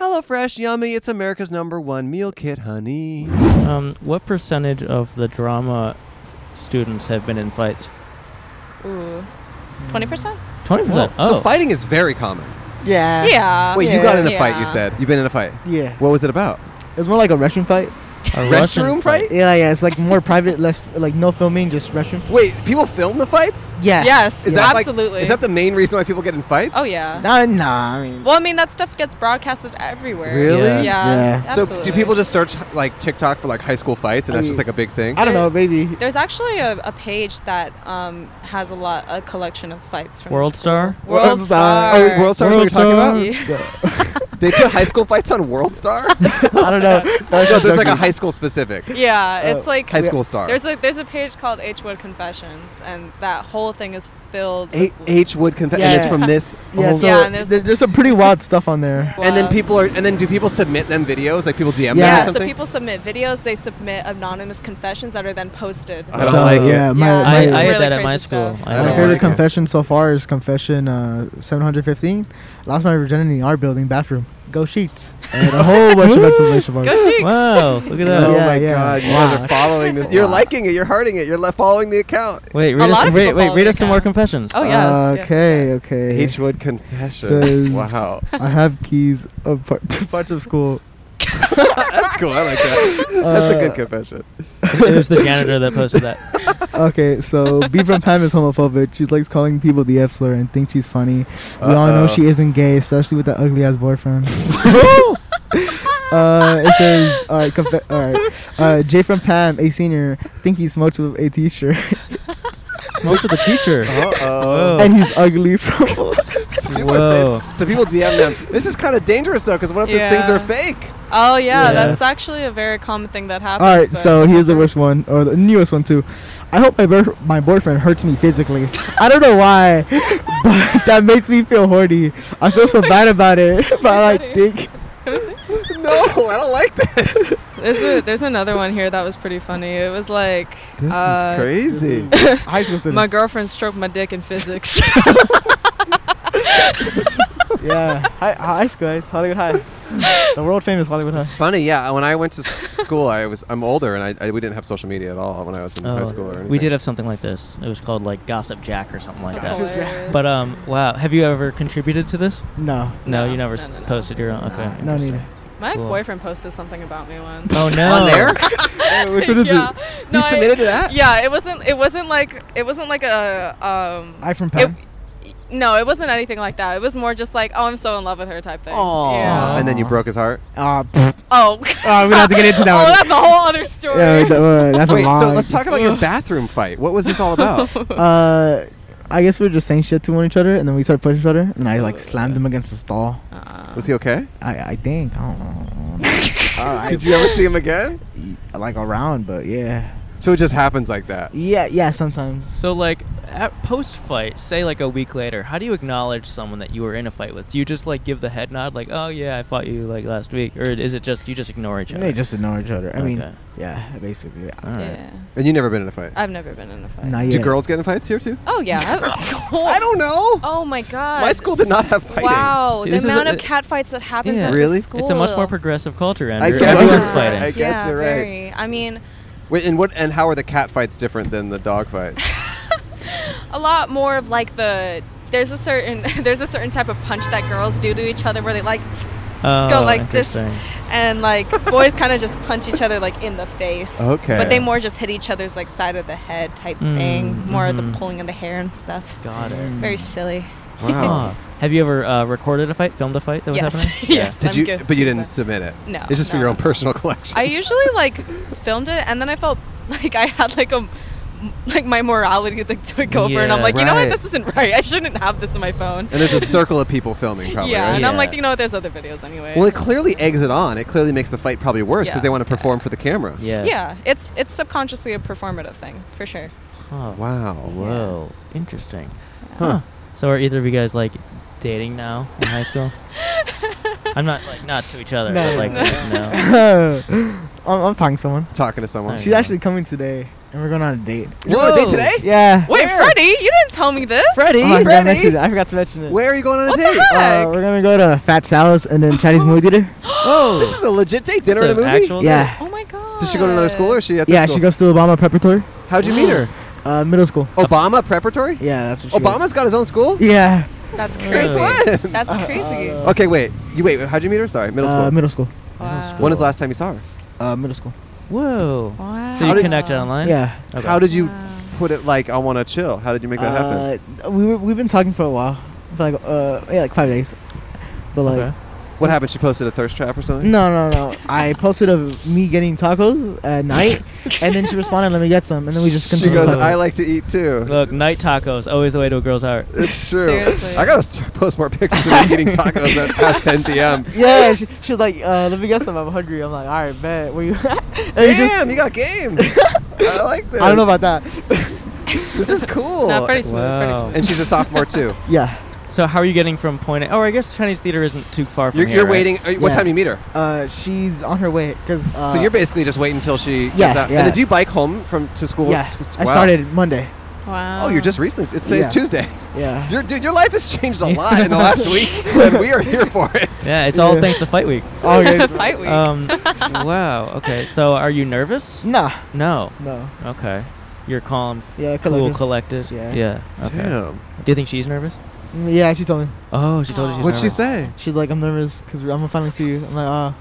Speaker 2: HelloFresh, yummy. It's America's number one meal kit, honey.
Speaker 1: Um, what percentage of the drama students have been in fights?
Speaker 6: Ooh, twenty percent.
Speaker 1: Twenty percent.
Speaker 2: So
Speaker 1: Oh,
Speaker 2: fighting is very common.
Speaker 4: Yeah.
Speaker 6: Yeah.
Speaker 2: Wait, you
Speaker 4: Yeah.
Speaker 2: got in a fight, you
Speaker 6: Yeah.
Speaker 2: said. You've been in a fight.
Speaker 4: Yeah.
Speaker 2: What was it about?
Speaker 4: It was more like a restroom fight.
Speaker 1: a Russian
Speaker 2: Restroom
Speaker 1: fight.
Speaker 2: fight?
Speaker 4: Yeah, yeah. It's like more private, less like no filming, just restroom.
Speaker 2: Wait, people film the fights?
Speaker 4: Yeah.
Speaker 6: Yes,
Speaker 2: Is that like-
Speaker 6: absolutely.
Speaker 2: is that the main reason why people get in fights?
Speaker 6: oh yeah.
Speaker 4: Nah, Uh, nah. I mean,
Speaker 6: well, I mean that stuff gets broadcasted everywhere.
Speaker 2: Really?
Speaker 6: Yeah.
Speaker 4: Yeah.
Speaker 6: Absolutely.
Speaker 2: So do people just search like TikTok for like high school fights, and
Speaker 4: I
Speaker 2: that's
Speaker 4: mean-
Speaker 2: just like a big thing?
Speaker 4: I don't know. Maybe.
Speaker 6: There's actually a, a page that um, has a lot a collection of fights from
Speaker 1: World
Speaker 6: the
Speaker 1: Star?
Speaker 6: school. World,
Speaker 4: World Star.
Speaker 6: Star.
Speaker 2: Oh, wait, World Star is what you're talking about?
Speaker 6: Yeah.
Speaker 2: They put high school fights on World Star?
Speaker 4: I don't know.
Speaker 2: no, there's like a high school specific.
Speaker 6: Yeah,
Speaker 4: Oh,
Speaker 6: it's like
Speaker 2: High school star.
Speaker 6: There's a there's a page called H Wood Confessions, and that whole thing is filled.
Speaker 2: H,
Speaker 6: with-
Speaker 2: H Wood confession.
Speaker 4: Yeah.
Speaker 2: And it's from this.
Speaker 4: Yeah.
Speaker 2: whole-
Speaker 4: So
Speaker 6: Yeah, and there's-
Speaker 4: there- there's some pretty wild stuff on there.
Speaker 2: and then
Speaker 6: Wow.
Speaker 2: people are. And then do people submit them videos? Like people DM
Speaker 4: Yeah.
Speaker 2: them
Speaker 6: Yeah,
Speaker 2: or
Speaker 6: so
Speaker 2: something?
Speaker 6: people submit videos. They submit anonymous confessions that are then posted.
Speaker 2: I don't like it.
Speaker 4: yeah, Uh, My,
Speaker 6: Yeah,
Speaker 4: my,
Speaker 1: I, I
Speaker 6: Some
Speaker 1: had
Speaker 6: really
Speaker 1: that at
Speaker 6: crazy
Speaker 1: my
Speaker 6: stuff.
Speaker 1: school. I
Speaker 2: I don't
Speaker 4: My
Speaker 1: had
Speaker 4: favorite
Speaker 1: that.
Speaker 2: like it.
Speaker 4: confession so far is confession uh, 715. Lost my virginity in our building bathroom. Go sheets. And a whole bunch of exclamation marks.
Speaker 6: Go Chiefs!
Speaker 1: Wow, look at that.
Speaker 2: Oh
Speaker 4: Yeah,
Speaker 2: my
Speaker 4: yeah.
Speaker 2: god! You guys are
Speaker 4: Wow.
Speaker 2: following this. You're liking it. You're hearting it. You're le- following the account.
Speaker 1: Wait,
Speaker 6: A
Speaker 1: read
Speaker 6: lot
Speaker 1: us,
Speaker 6: of
Speaker 1: wait,
Speaker 6: people
Speaker 1: wait,
Speaker 6: follow
Speaker 1: read
Speaker 6: the
Speaker 1: us some more
Speaker 6: account.
Speaker 1: confessions.
Speaker 6: Oh, yes, yes,
Speaker 4: Uh, okay,
Speaker 6: yes.
Speaker 4: okay.
Speaker 2: H Wood confession.
Speaker 4: Says-
Speaker 2: Wow,
Speaker 4: I have keys of part, two parts of school.
Speaker 2: that's cool. I like that. That's a good
Speaker 4: Uh,
Speaker 2: confession.
Speaker 1: it was the janitor that posted that.
Speaker 4: Okay, so B from Pam is homophobic. She likes calling people the F slur and thinks she's funny. We all know
Speaker 2: Uh-oh.
Speaker 4: she isn't gay, especially with that ugly ass boyfriend. uh, it says, all right, conf- all right. Uh, J from Pam, a senior, think he smokes with a t-shirt,
Speaker 1: Smoked with the teacher.
Speaker 2: Uh oh.
Speaker 1: Whoa.
Speaker 4: and he's ugly from.
Speaker 2: People are
Speaker 1: Whoa.
Speaker 2: saying, so people DM them. This is kind of dangerous though, because what if the things
Speaker 6: Yeah.
Speaker 2: are fake?
Speaker 6: Oh yeah,
Speaker 1: Yeah.
Speaker 6: that's actually a very common thing that happens.
Speaker 4: All right,
Speaker 6: but-
Speaker 4: so here's the worst one, or the newest one too. I hope my bur- my boyfriend hurts me physically. I don't know why, but that makes me feel horny. I feel so bad about it, but I like think
Speaker 2: No, I don't like this.
Speaker 6: There's a there's another one here that was pretty funny. It was like uh,
Speaker 2: Crazy.
Speaker 4: high school students.
Speaker 6: my girlfriend stroked my dick in physics.
Speaker 4: Yeah, high, high school, guys. Hollywood High, the world famous Hollywood
Speaker 2: It's funny, yeah. When I went to s- school, I was I'm older, and I, I we didn't have social media at all when I was in high
Speaker 1: Oh,
Speaker 2: school. Or anything.
Speaker 1: we did have something like this. It was called like Gossip Jack or something like
Speaker 6: That's
Speaker 1: that.
Speaker 6: hilarious.
Speaker 2: uh,
Speaker 1: But um, wow, have you ever contributed to this?
Speaker 4: No,
Speaker 1: No,
Speaker 6: No,
Speaker 1: you never
Speaker 6: no,
Speaker 1: s
Speaker 6: no, no.
Speaker 1: posted your own. Okay,
Speaker 4: no
Speaker 1: interesting.
Speaker 4: neither.
Speaker 6: My
Speaker 1: Cool.
Speaker 6: ex-boyfriend posted something about me once.
Speaker 1: Oh no.
Speaker 2: On there?
Speaker 4: Oh, Which one is
Speaker 6: yeah.
Speaker 4: it?
Speaker 6: No,
Speaker 2: You submitted to that?
Speaker 6: Yeah, it wasn't. It wasn't like it wasn't like a. Um,
Speaker 4: I from
Speaker 6: it,
Speaker 4: Penn.
Speaker 6: no, it wasn't anything like that. It was more just like, oh, I'm so in love with her type thing.
Speaker 2: Aw.
Speaker 6: Yeah.
Speaker 2: And then you broke his heart.
Speaker 4: Ah, pfft.
Speaker 6: Oh.
Speaker 4: Ah, we don't have to get into that
Speaker 6: oh,
Speaker 4: one.
Speaker 6: that's a whole other story.
Speaker 4: Yeah, that- uh, that's
Speaker 2: Wait,
Speaker 4: a lot.
Speaker 2: so let's talk about your bathroom fight. What was this all about?
Speaker 4: Uh, I guess we were just saying shit to one each other, and then we started pushing each other, and I like slammed him against the stall.
Speaker 2: was he okay?
Speaker 4: I, I think I don't know. Uh,
Speaker 2: Did you ever see him again?
Speaker 4: I, like around, but yeah,
Speaker 2: So it just happens like that.
Speaker 4: yeah, yeah. Sometimes
Speaker 1: So like at post fight, say like a week later, how do you acknowledge someone that you were in a fight with? Do you just like give the head nod like, "Oh yeah, I fought you like last week," or is it just you just ignore each other?
Speaker 4: they just ignore each other. I mean,
Speaker 1: Okay.
Speaker 4: yeah, basically.
Speaker 1: All right.
Speaker 6: Yeah.
Speaker 2: And you never been in a fight.
Speaker 6: I've never been in a fight.
Speaker 4: Not
Speaker 2: Do
Speaker 4: yet.
Speaker 2: girls get in fights here too?
Speaker 6: Oh yeah. I
Speaker 2: I don't know.
Speaker 6: Oh my god.
Speaker 2: My school did not have fighting.
Speaker 6: Wow,
Speaker 1: See,
Speaker 6: the
Speaker 1: this is
Speaker 6: amount
Speaker 1: a-
Speaker 6: of catfights that happens
Speaker 1: Yeah.
Speaker 6: at
Speaker 2: Really?
Speaker 6: the school.
Speaker 1: It's a much more progressive culture, Andrew.
Speaker 2: guess
Speaker 1: Everyone's
Speaker 2: you're right.
Speaker 1: fighting.
Speaker 2: I guess
Speaker 6: yeah,
Speaker 2: you're right.
Speaker 6: Very. I mean,
Speaker 2: Wait, and what? And how are the cat fights different than the dog fight?
Speaker 6: a lot more of like the there's a certain there's a certain type of punch that girls do to each other where they like
Speaker 1: oh,
Speaker 6: go like this
Speaker 1: interesting.
Speaker 6: and like boys kind of just punch each other like in the face.
Speaker 2: Okay.
Speaker 6: But they more just hit each other's like side of the head type
Speaker 1: Mm,
Speaker 6: thing, more of
Speaker 1: mhm.
Speaker 6: the pulling of the hair and stuff.
Speaker 1: Got it.
Speaker 6: Very silly.
Speaker 1: Huh. Have you ever uh, recorded a fight, filmed a fight that was
Speaker 6: Yes.
Speaker 1: happening?
Speaker 6: yes.
Speaker 2: Did
Speaker 6: I'm
Speaker 2: you?
Speaker 6: good
Speaker 2: But you
Speaker 6: to
Speaker 2: didn't
Speaker 6: that.
Speaker 2: submit it.
Speaker 6: No,
Speaker 2: It's just for
Speaker 6: no,
Speaker 2: your own
Speaker 6: no.
Speaker 2: personal collection.
Speaker 6: I usually like filmed it and then I felt like I had like a like my morality like took over and I'm
Speaker 1: Yeah.
Speaker 6: like, you know
Speaker 2: Right.
Speaker 6: what, this isn't right. I shouldn't have this in my phone.
Speaker 2: and there's a circle of people filming, probably.
Speaker 6: yeah,
Speaker 2: right?
Speaker 6: and I'm like,
Speaker 1: Yeah.
Speaker 6: you know what, there's other videos anyway.
Speaker 2: Well, it clearly eggs it on. It clearly makes the fight probably worse because
Speaker 6: Yeah.
Speaker 2: they want to perform for the camera.
Speaker 1: Yeah.
Speaker 6: yeah, it's it's subconsciously a performative thing for sure.
Speaker 1: Huh.
Speaker 2: Wow.
Speaker 1: Whoa. Interesting.
Speaker 2: Huh.
Speaker 1: Huh. So are either of you guys like dating now in high school? I'm not like not to each other.
Speaker 4: No,
Speaker 1: but, like no.
Speaker 4: I'm, I'm talking to someone.
Speaker 2: Talking to someone.
Speaker 1: Nice.
Speaker 4: She's actually coming today, and we're going on a date.
Speaker 2: You're going on a date
Speaker 1: Whoa.
Speaker 2: today?
Speaker 4: Yeah.
Speaker 6: Wait, Freddie, you didn't tell me this.
Speaker 2: Freddie.
Speaker 4: Oh, I, forgot to mention
Speaker 2: Freddie.
Speaker 4: it. I forgot to mention it.
Speaker 2: Where are you going on
Speaker 6: What
Speaker 2: a
Speaker 6: the
Speaker 2: date?
Speaker 6: heck?
Speaker 4: Uh, we're gonna go to Fat Sal's and then Chinese movie theater.
Speaker 1: Whoa.
Speaker 2: Oh, This is a legit date. Dinner
Speaker 1: It's
Speaker 2: and a
Speaker 1: an
Speaker 2: movie.
Speaker 1: actual-
Speaker 4: Yeah,
Speaker 6: Oh my god.
Speaker 2: Does she go to another school or is she at? This
Speaker 4: yeah.
Speaker 2: school?
Speaker 4: She goes to Obama Preparatory,
Speaker 2: How'd you meet her?
Speaker 4: uh, middle school.
Speaker 2: Obama preparatory.
Speaker 4: Yeah, that's what she. goes-
Speaker 2: Obama's got his own school.
Speaker 4: Yeah,
Speaker 6: That's crazy.
Speaker 2: Since when?
Speaker 6: That's crazy.
Speaker 1: Uh,
Speaker 2: Okay, wait. You wait. How'd you meet her? Sorry, middle
Speaker 4: uh,
Speaker 2: school.
Speaker 4: middle school.
Speaker 6: wow.
Speaker 2: when is the last time you saw her?
Speaker 4: Uh, middle school.
Speaker 1: Whoa.
Speaker 6: Wow.
Speaker 1: So
Speaker 2: How
Speaker 1: you
Speaker 2: did-
Speaker 1: connected online?
Speaker 4: Yeah.
Speaker 1: Okay.
Speaker 2: How did you
Speaker 6: Wow.
Speaker 2: put it like I want to chill? How did you make that happen?
Speaker 4: Uh, we were, we've been talking for a while, for like uh yeah like five days, but like
Speaker 1: Okay.
Speaker 2: What happened? She posted a thirst trap or something.
Speaker 4: no no no. I posted of me getting tacos at night, and then she responded, "Let me get some," and then we just
Speaker 2: She
Speaker 4: continued.
Speaker 2: goes.
Speaker 1: Oh.
Speaker 2: I like to eat too.
Speaker 1: Look, night tacos always the way to a girl's heart.
Speaker 2: It's true.
Speaker 6: Seriously.
Speaker 2: I gotta start post more pictures of me eating tacos at past 10 p.m.
Speaker 4: yeah, she, she was like, uh, "Let me get some. I'm hungry." I'm like, "All right, bet." Where you? and we just-
Speaker 2: Damn, you got game. I like this.
Speaker 4: I don't know about that.
Speaker 2: this is cool.
Speaker 6: Not pretty smooth. Pretty
Speaker 1: Wow.
Speaker 6: smooth.
Speaker 2: and she's a sophomore too.
Speaker 4: yeah.
Speaker 1: So how are you getting from point A? Oh, I guess Chinese theater isn't too far from
Speaker 2: You're,
Speaker 1: here.
Speaker 2: you're
Speaker 1: right?
Speaker 2: waiting. are you- What
Speaker 4: Yeah.
Speaker 2: time do you meet her?
Speaker 4: Uh, she's on her way because. Uh,
Speaker 2: so you're basically just waiting until she
Speaker 4: yeah,
Speaker 2: comes out.
Speaker 4: yeah.
Speaker 2: And then do you bike home from to school?
Speaker 4: Yeah,
Speaker 2: Sc-
Speaker 4: I
Speaker 2: wow.
Speaker 4: started Monday.
Speaker 6: wow.
Speaker 2: Oh, you're just recently. It's today's
Speaker 4: Yeah.
Speaker 2: Tuesday.
Speaker 4: Yeah.
Speaker 2: Your dude, your life has changed a lot in the last week, and we are here for it.
Speaker 1: Yeah, it's all
Speaker 4: Yeah.
Speaker 1: thanks to fight week.
Speaker 4: oh yeah.
Speaker 6: fight week.
Speaker 1: Um, wow. Okay. So are you nervous?
Speaker 4: nah,
Speaker 1: No.
Speaker 4: no.
Speaker 1: Okay. You're calm,
Speaker 4: Yeah,
Speaker 1: cool,
Speaker 4: collective.
Speaker 1: collected.
Speaker 4: Yeah.
Speaker 1: Yeah. Okay.
Speaker 2: Damn.
Speaker 1: Do you think she's nervous?
Speaker 4: Mm, Yeah, she told me.
Speaker 1: Oh, she told you
Speaker 6: Aw.
Speaker 1: she's
Speaker 2: What'd she
Speaker 1: nervous.
Speaker 2: say?
Speaker 4: She's like, I'm nervous because I'm gonna finally see you. I'm like, ah.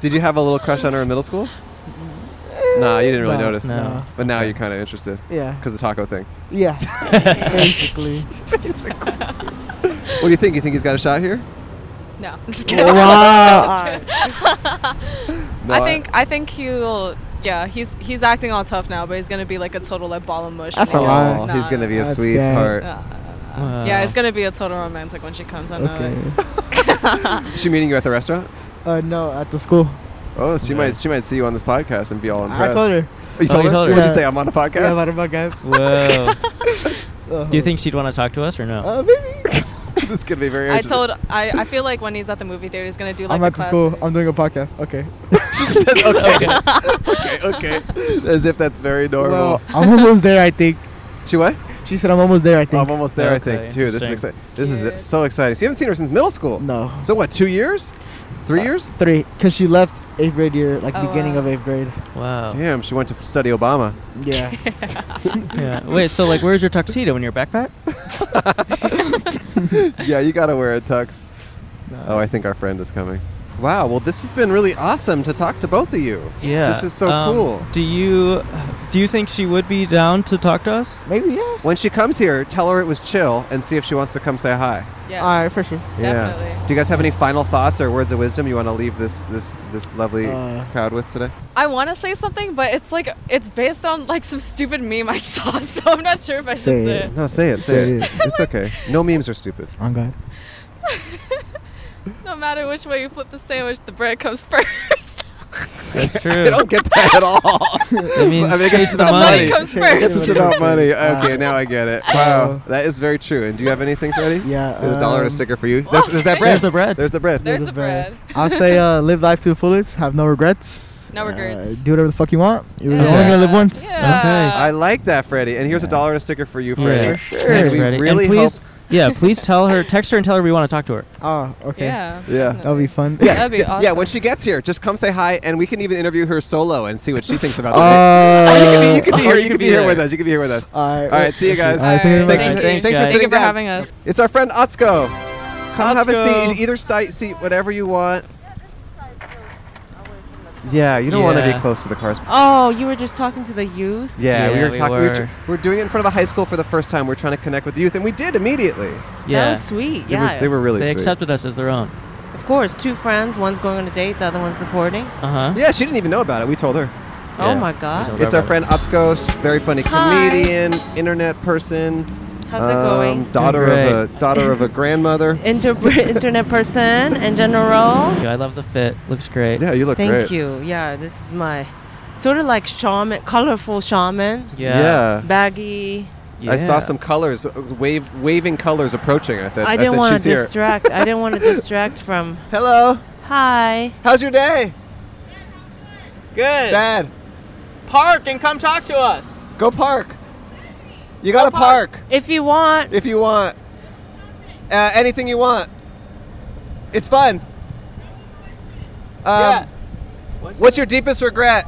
Speaker 2: Did you have a little crush on her in middle school? Nah, you didn't really
Speaker 4: No,
Speaker 2: notice.
Speaker 1: no.
Speaker 2: But now you're kind of interested
Speaker 4: yeah.
Speaker 2: because the taco thing.
Speaker 4: Yeah. Basically.
Speaker 1: Uh,
Speaker 2: What do you think? You think he's got a shot here?
Speaker 6: no, I'm just kidding.
Speaker 4: wow.
Speaker 2: No,
Speaker 6: I think I think he'll. Yeah, he's he's acting all tough now, but he's gonna be like a total like ball of mush.
Speaker 4: That's
Speaker 6: when
Speaker 4: a
Speaker 6: he
Speaker 4: lie.
Speaker 6: gets-
Speaker 2: Oh,
Speaker 6: Nah,
Speaker 2: he's gonna be a
Speaker 4: That's
Speaker 2: sweetheart.
Speaker 6: nah, nah, nah, nah.
Speaker 1: Wow.
Speaker 6: Yeah, it's gonna be a total romantic when she comes. I know
Speaker 4: Okay.
Speaker 6: it.
Speaker 2: Is she meeting you at the restaurant?
Speaker 4: Uh, no, at the school.
Speaker 2: Oh, she might.
Speaker 1: Nice.
Speaker 2: She might see you on this podcast and be all impressed.
Speaker 4: I told her.
Speaker 2: You told
Speaker 1: you
Speaker 2: her.
Speaker 1: told
Speaker 4: her.
Speaker 2: What'd you
Speaker 4: Yeah.
Speaker 2: say? I'm on a podcast.
Speaker 4: Yeah, about her guys.
Speaker 1: Whoa.
Speaker 4: Uh,
Speaker 1: Do you think she'd want to talk to us or no?
Speaker 2: Oh.
Speaker 4: Uh, maybe.
Speaker 2: this could be very.
Speaker 6: I
Speaker 2: interesting.
Speaker 6: told. I, I feel like when he's at the movie theater, he's gonna do like.
Speaker 4: I'm
Speaker 6: the
Speaker 4: at the school.
Speaker 6: classic-
Speaker 4: I'm doing a podcast. Okay.
Speaker 2: she just says, okay, okay, okay, as if that's very normal.
Speaker 4: Well, I'm almost there. I think.
Speaker 2: she what?
Speaker 4: She said I'm almost there. I think.
Speaker 2: I'm almost there. I
Speaker 1: Okay,
Speaker 2: think too. This is
Speaker 1: interesting.
Speaker 2: exciting. This
Speaker 6: Cute.
Speaker 2: is so exciting. So you haven't seen her since middle school.
Speaker 4: no.
Speaker 2: So what? Two years? Three years?
Speaker 4: Three, because she left eighth grade year, like
Speaker 6: Oh,
Speaker 4: beginning
Speaker 6: wow.
Speaker 4: of eighth grade.
Speaker 1: Wow.
Speaker 2: Damn, she went to study Obama.
Speaker 4: Yeah.
Speaker 1: Yeah. Wait. So like, where's your tuxedo in your backpack?
Speaker 2: yeah, you gotta wear a tux. Oh, I think our friend is coming. Wow. Well, this has been really awesome to talk to both of you.
Speaker 1: Yeah.
Speaker 2: This is so
Speaker 1: um,
Speaker 2: cool.
Speaker 1: Do you do you think she would be down to talk to us?
Speaker 4: Maybe yeah.
Speaker 2: When she comes here, tell her it was chill and see if she wants to come say hi.
Speaker 6: Yes.
Speaker 4: All right, for sure.
Speaker 6: Definitely.
Speaker 2: Yeah. Do you guys have any final thoughts or words of wisdom you want to leave this this this lovely
Speaker 4: Uh.
Speaker 2: crowd with today?
Speaker 6: I want to say something, but it's like it's based on like some stupid meme I saw, so I'm not sure if I should
Speaker 4: Say
Speaker 6: say
Speaker 4: it.
Speaker 6: it.
Speaker 2: No, say it. Say
Speaker 4: Say
Speaker 2: it.
Speaker 4: it.
Speaker 2: It's okay. No memes are stupid.
Speaker 4: I'm glad.
Speaker 6: No matter which way you flip the sandwich, the bread comes first.
Speaker 1: That's true.
Speaker 2: I don't get that at all.
Speaker 1: I mean,
Speaker 2: I mean, I guess
Speaker 1: chase
Speaker 2: it's
Speaker 1: the
Speaker 2: about
Speaker 1: money.
Speaker 6: money comes
Speaker 2: I guess it's
Speaker 6: first.
Speaker 2: about money.
Speaker 4: Uh,
Speaker 2: Okay, now I get it. Wow, that is very true. And do you have anything, Freddie?
Speaker 4: Yeah,
Speaker 2: There's a dollar and a
Speaker 4: um,
Speaker 2: sticker for you. There's, there's that bread.
Speaker 1: There's the bread.
Speaker 2: There's the bread.
Speaker 6: There's
Speaker 4: Live
Speaker 6: the
Speaker 4: a bad-
Speaker 6: bread.
Speaker 4: I'll say, uh, live life to the fullest. Have no regrets.
Speaker 6: No
Speaker 4: Uh,
Speaker 6: regrets.
Speaker 4: do whatever the fuck you want. You're
Speaker 1: Yeah.
Speaker 4: only gonna live once.
Speaker 6: Yeah.
Speaker 2: I like that, Freddie. And here's a
Speaker 4: Yeah.
Speaker 2: dollar and a sticker for you,
Speaker 1: Yeah.
Speaker 2: Freddie.
Speaker 1: For
Speaker 4: sure.
Speaker 2: And we
Speaker 1: Freddie. And
Speaker 2: really
Speaker 1: please-
Speaker 2: hope.
Speaker 1: yeah, please tell her, text her, and tell her we want to talk to her.
Speaker 4: Oh, okay.
Speaker 6: Yeah.
Speaker 2: Yeah.
Speaker 4: That'll be fun.
Speaker 2: Yeah,
Speaker 6: That'd be
Speaker 2: d- Yeah,
Speaker 6: awesome.
Speaker 2: when she gets here, just come say hi, and we can even interview her solo and see what she thinks about. the Oh,
Speaker 4: Uh,
Speaker 2: you can be, you can be
Speaker 1: or
Speaker 2: here.
Speaker 1: you
Speaker 2: You
Speaker 1: could
Speaker 2: can be
Speaker 1: be
Speaker 2: here
Speaker 1: there.
Speaker 2: with us. You can be here with us.
Speaker 4: all right.
Speaker 2: All right, see you guys.
Speaker 4: All right, thank you very
Speaker 2: Thanks,
Speaker 4: much.
Speaker 2: for,
Speaker 1: Thanks,
Speaker 2: thanks for
Speaker 1: guys.
Speaker 6: Thank you
Speaker 2: sitting
Speaker 6: for
Speaker 2: down.
Speaker 6: having us.
Speaker 2: It's our friend Otzko. Come have a
Speaker 1: Otzko.
Speaker 2: seat. Either side, seat whatever you want. Yeah, you don't want to
Speaker 1: Yeah.
Speaker 2: be close to the cars.
Speaker 8: Oh, you were just talking to the youth?
Speaker 2: Yeah, we
Speaker 1: Yeah,
Speaker 2: were
Speaker 1: we
Speaker 2: talking. We were,
Speaker 1: were.
Speaker 2: tr- we were doing it in front of a high school for the first time. We are trying to connect with youth, and we did immediately.
Speaker 1: Yeah.
Speaker 8: That was sweet.
Speaker 2: It
Speaker 8: Yeah.
Speaker 2: was- they were really.
Speaker 1: they
Speaker 2: sweet.
Speaker 1: accepted us as their own.
Speaker 8: Of course, two friends, one's going on a date, the other one's supporting.
Speaker 1: Uh huh.
Speaker 2: Yeah, she didn't even know about it. We told her.
Speaker 8: Oh my God.
Speaker 2: It's our friend Otzko, she's a very funny
Speaker 8: Hi.
Speaker 2: comedian, internet person.
Speaker 8: How's it
Speaker 2: um,
Speaker 8: going?
Speaker 2: Daughter of a
Speaker 1: Great.
Speaker 2: daughter of a grandmother.
Speaker 8: Inter- internet person in general.
Speaker 1: I love the fit. Looks great.
Speaker 2: Yeah, you look
Speaker 8: Thank
Speaker 2: great.
Speaker 8: you. Yeah, this is my sort of like shaman, colorful shaman,
Speaker 1: Yeah.
Speaker 8: baggy.
Speaker 2: I saw
Speaker 1: Yeah.
Speaker 2: some colors, uh, wave, waving colors approaching. I, th-
Speaker 8: I,
Speaker 2: I
Speaker 8: didn't
Speaker 2: said,
Speaker 8: want
Speaker 2: she's
Speaker 8: to
Speaker 2: here.
Speaker 8: distract. I didn't want to distract from.
Speaker 2: Hello.
Speaker 8: Hi.
Speaker 2: How's your day?
Speaker 1: Good.
Speaker 2: Dad,
Speaker 1: Park and come talk to us.
Speaker 2: go park. You gotta park.
Speaker 8: If you want,
Speaker 2: if you want. Uh, anything you want. It's fun. Um,
Speaker 1: Yeah.
Speaker 2: What's, your deepest regret?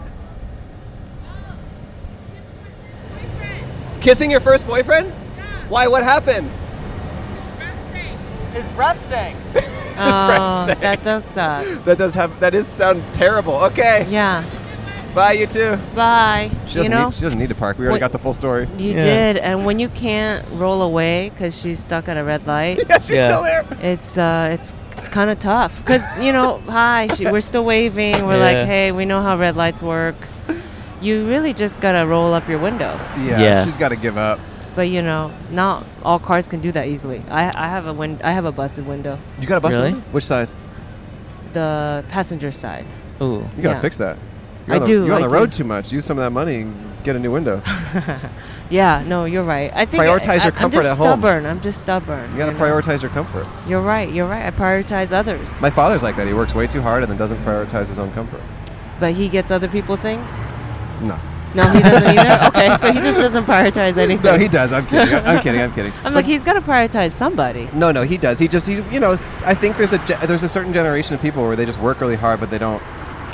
Speaker 2: Kissing your first boyfriend? Why? What happened?
Speaker 1: His breath stank.
Speaker 8: oh, that does suck.
Speaker 2: That does have. That is sound terrible. Okay.
Speaker 8: Yeah.
Speaker 2: Bye, you too.
Speaker 8: Bye.
Speaker 2: She doesn't,
Speaker 8: You know,
Speaker 2: need, she doesn't need to park. We already
Speaker 8: Wait.
Speaker 2: got the full story.
Speaker 8: you
Speaker 1: Yeah.
Speaker 8: did. And when you can't roll away because she's stuck at a red light,
Speaker 2: Yeah, she's
Speaker 1: Yeah.
Speaker 2: still there.
Speaker 8: it's uh, it's it's kind of tough because you know, hi, she, we're still waving. We're
Speaker 1: Yeah.
Speaker 8: like, hey, we know how red lights work. You really just gotta roll up your window.
Speaker 2: Yeah,
Speaker 1: Yeah.
Speaker 2: she's got to give up.
Speaker 8: But you know, not all cars can do that easily. I, I have a win- I have a busted window,
Speaker 2: You got a bus?
Speaker 1: Really?
Speaker 2: on? Which side?
Speaker 8: the passenger side.
Speaker 1: Ooh.
Speaker 2: You gotta
Speaker 8: Yeah.
Speaker 2: fix that.
Speaker 8: I
Speaker 2: on the,
Speaker 8: do,
Speaker 2: You're on
Speaker 8: I
Speaker 2: the road
Speaker 8: do.
Speaker 2: too much. Use some of that money and get a new window.
Speaker 8: Yeah, no, you're right. I think
Speaker 2: Prioritize
Speaker 8: I,
Speaker 2: your
Speaker 8: I-
Speaker 2: comfort
Speaker 8: I'm just
Speaker 2: at home.
Speaker 8: Stubborn. I'm just stubborn.
Speaker 2: You gotta
Speaker 8: know?
Speaker 2: prioritize your comfort.
Speaker 8: You're right. You're right. I prioritize others,
Speaker 2: My father's like that. He works way too hard and then doesn't prioritize his own comfort.
Speaker 8: but he gets other people things.
Speaker 2: No.
Speaker 8: No, he doesn't either. Okay, so he just doesn't prioritize anything.
Speaker 2: No, he does. I'm kidding. I'm kidding. I'm kidding.
Speaker 8: I'm like, he's got to prioritize somebody.
Speaker 2: No, no, he does. He just, he, you know, I think there's a ge- there's a certain generation of people where they just work really hard, but they don't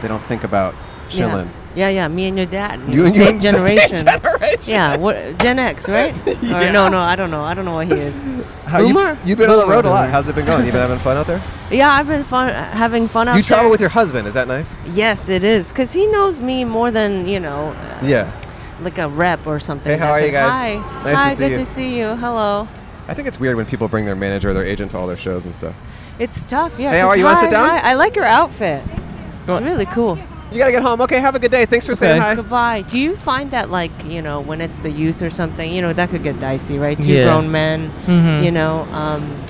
Speaker 2: they don't think about chilling.
Speaker 8: Yeah, yeah. yeah me and your dad.
Speaker 2: You
Speaker 8: You
Speaker 2: and your- the
Speaker 8: same
Speaker 2: same
Speaker 8: generation.
Speaker 2: generation.
Speaker 8: Yeah, what Gen X, right?
Speaker 2: Yeah.
Speaker 8: Or no, no, I don't know. I don't know what he is.
Speaker 2: How you,
Speaker 8: Boomer?
Speaker 2: you've been on the
Speaker 8: Boomer,
Speaker 2: road a lot.
Speaker 8: boomer.
Speaker 2: How's it been going? You been having fun out there?
Speaker 8: Yeah, I've been fun having fun out
Speaker 2: you travel
Speaker 8: there.
Speaker 2: with your husband. Is that nice?
Speaker 8: Yes, it is, cause he knows me more than you know, uh,
Speaker 2: Yeah.
Speaker 8: like a rep or something.
Speaker 2: Hey, how
Speaker 8: I
Speaker 2: are you
Speaker 8: think,
Speaker 2: guys?
Speaker 8: Hi,
Speaker 2: Nice to
Speaker 8: hi,
Speaker 2: see
Speaker 8: good
Speaker 2: you."
Speaker 8: to see you. Hello.
Speaker 2: I think it's weird when people bring their manager or their agent to all their shows and stuff.
Speaker 8: It's tough, yeah.
Speaker 2: Hey, how
Speaker 8: 'cause
Speaker 2: are you? Wanna sit
Speaker 8: hi,
Speaker 2: down?
Speaker 8: hi. I like your outfit. It's
Speaker 1: on.
Speaker 8: really cool.
Speaker 2: You gotta get home. Okay, have a good day. Thanks for saying
Speaker 1: Okay.
Speaker 2: hi.
Speaker 8: Goodbye. Do you find that like you know when it's the youth or something, you know that could get dicey, right? Two
Speaker 1: Yeah.
Speaker 8: grown men,
Speaker 2: Mm-hmm.
Speaker 1: Mhm.
Speaker 8: you know. Um,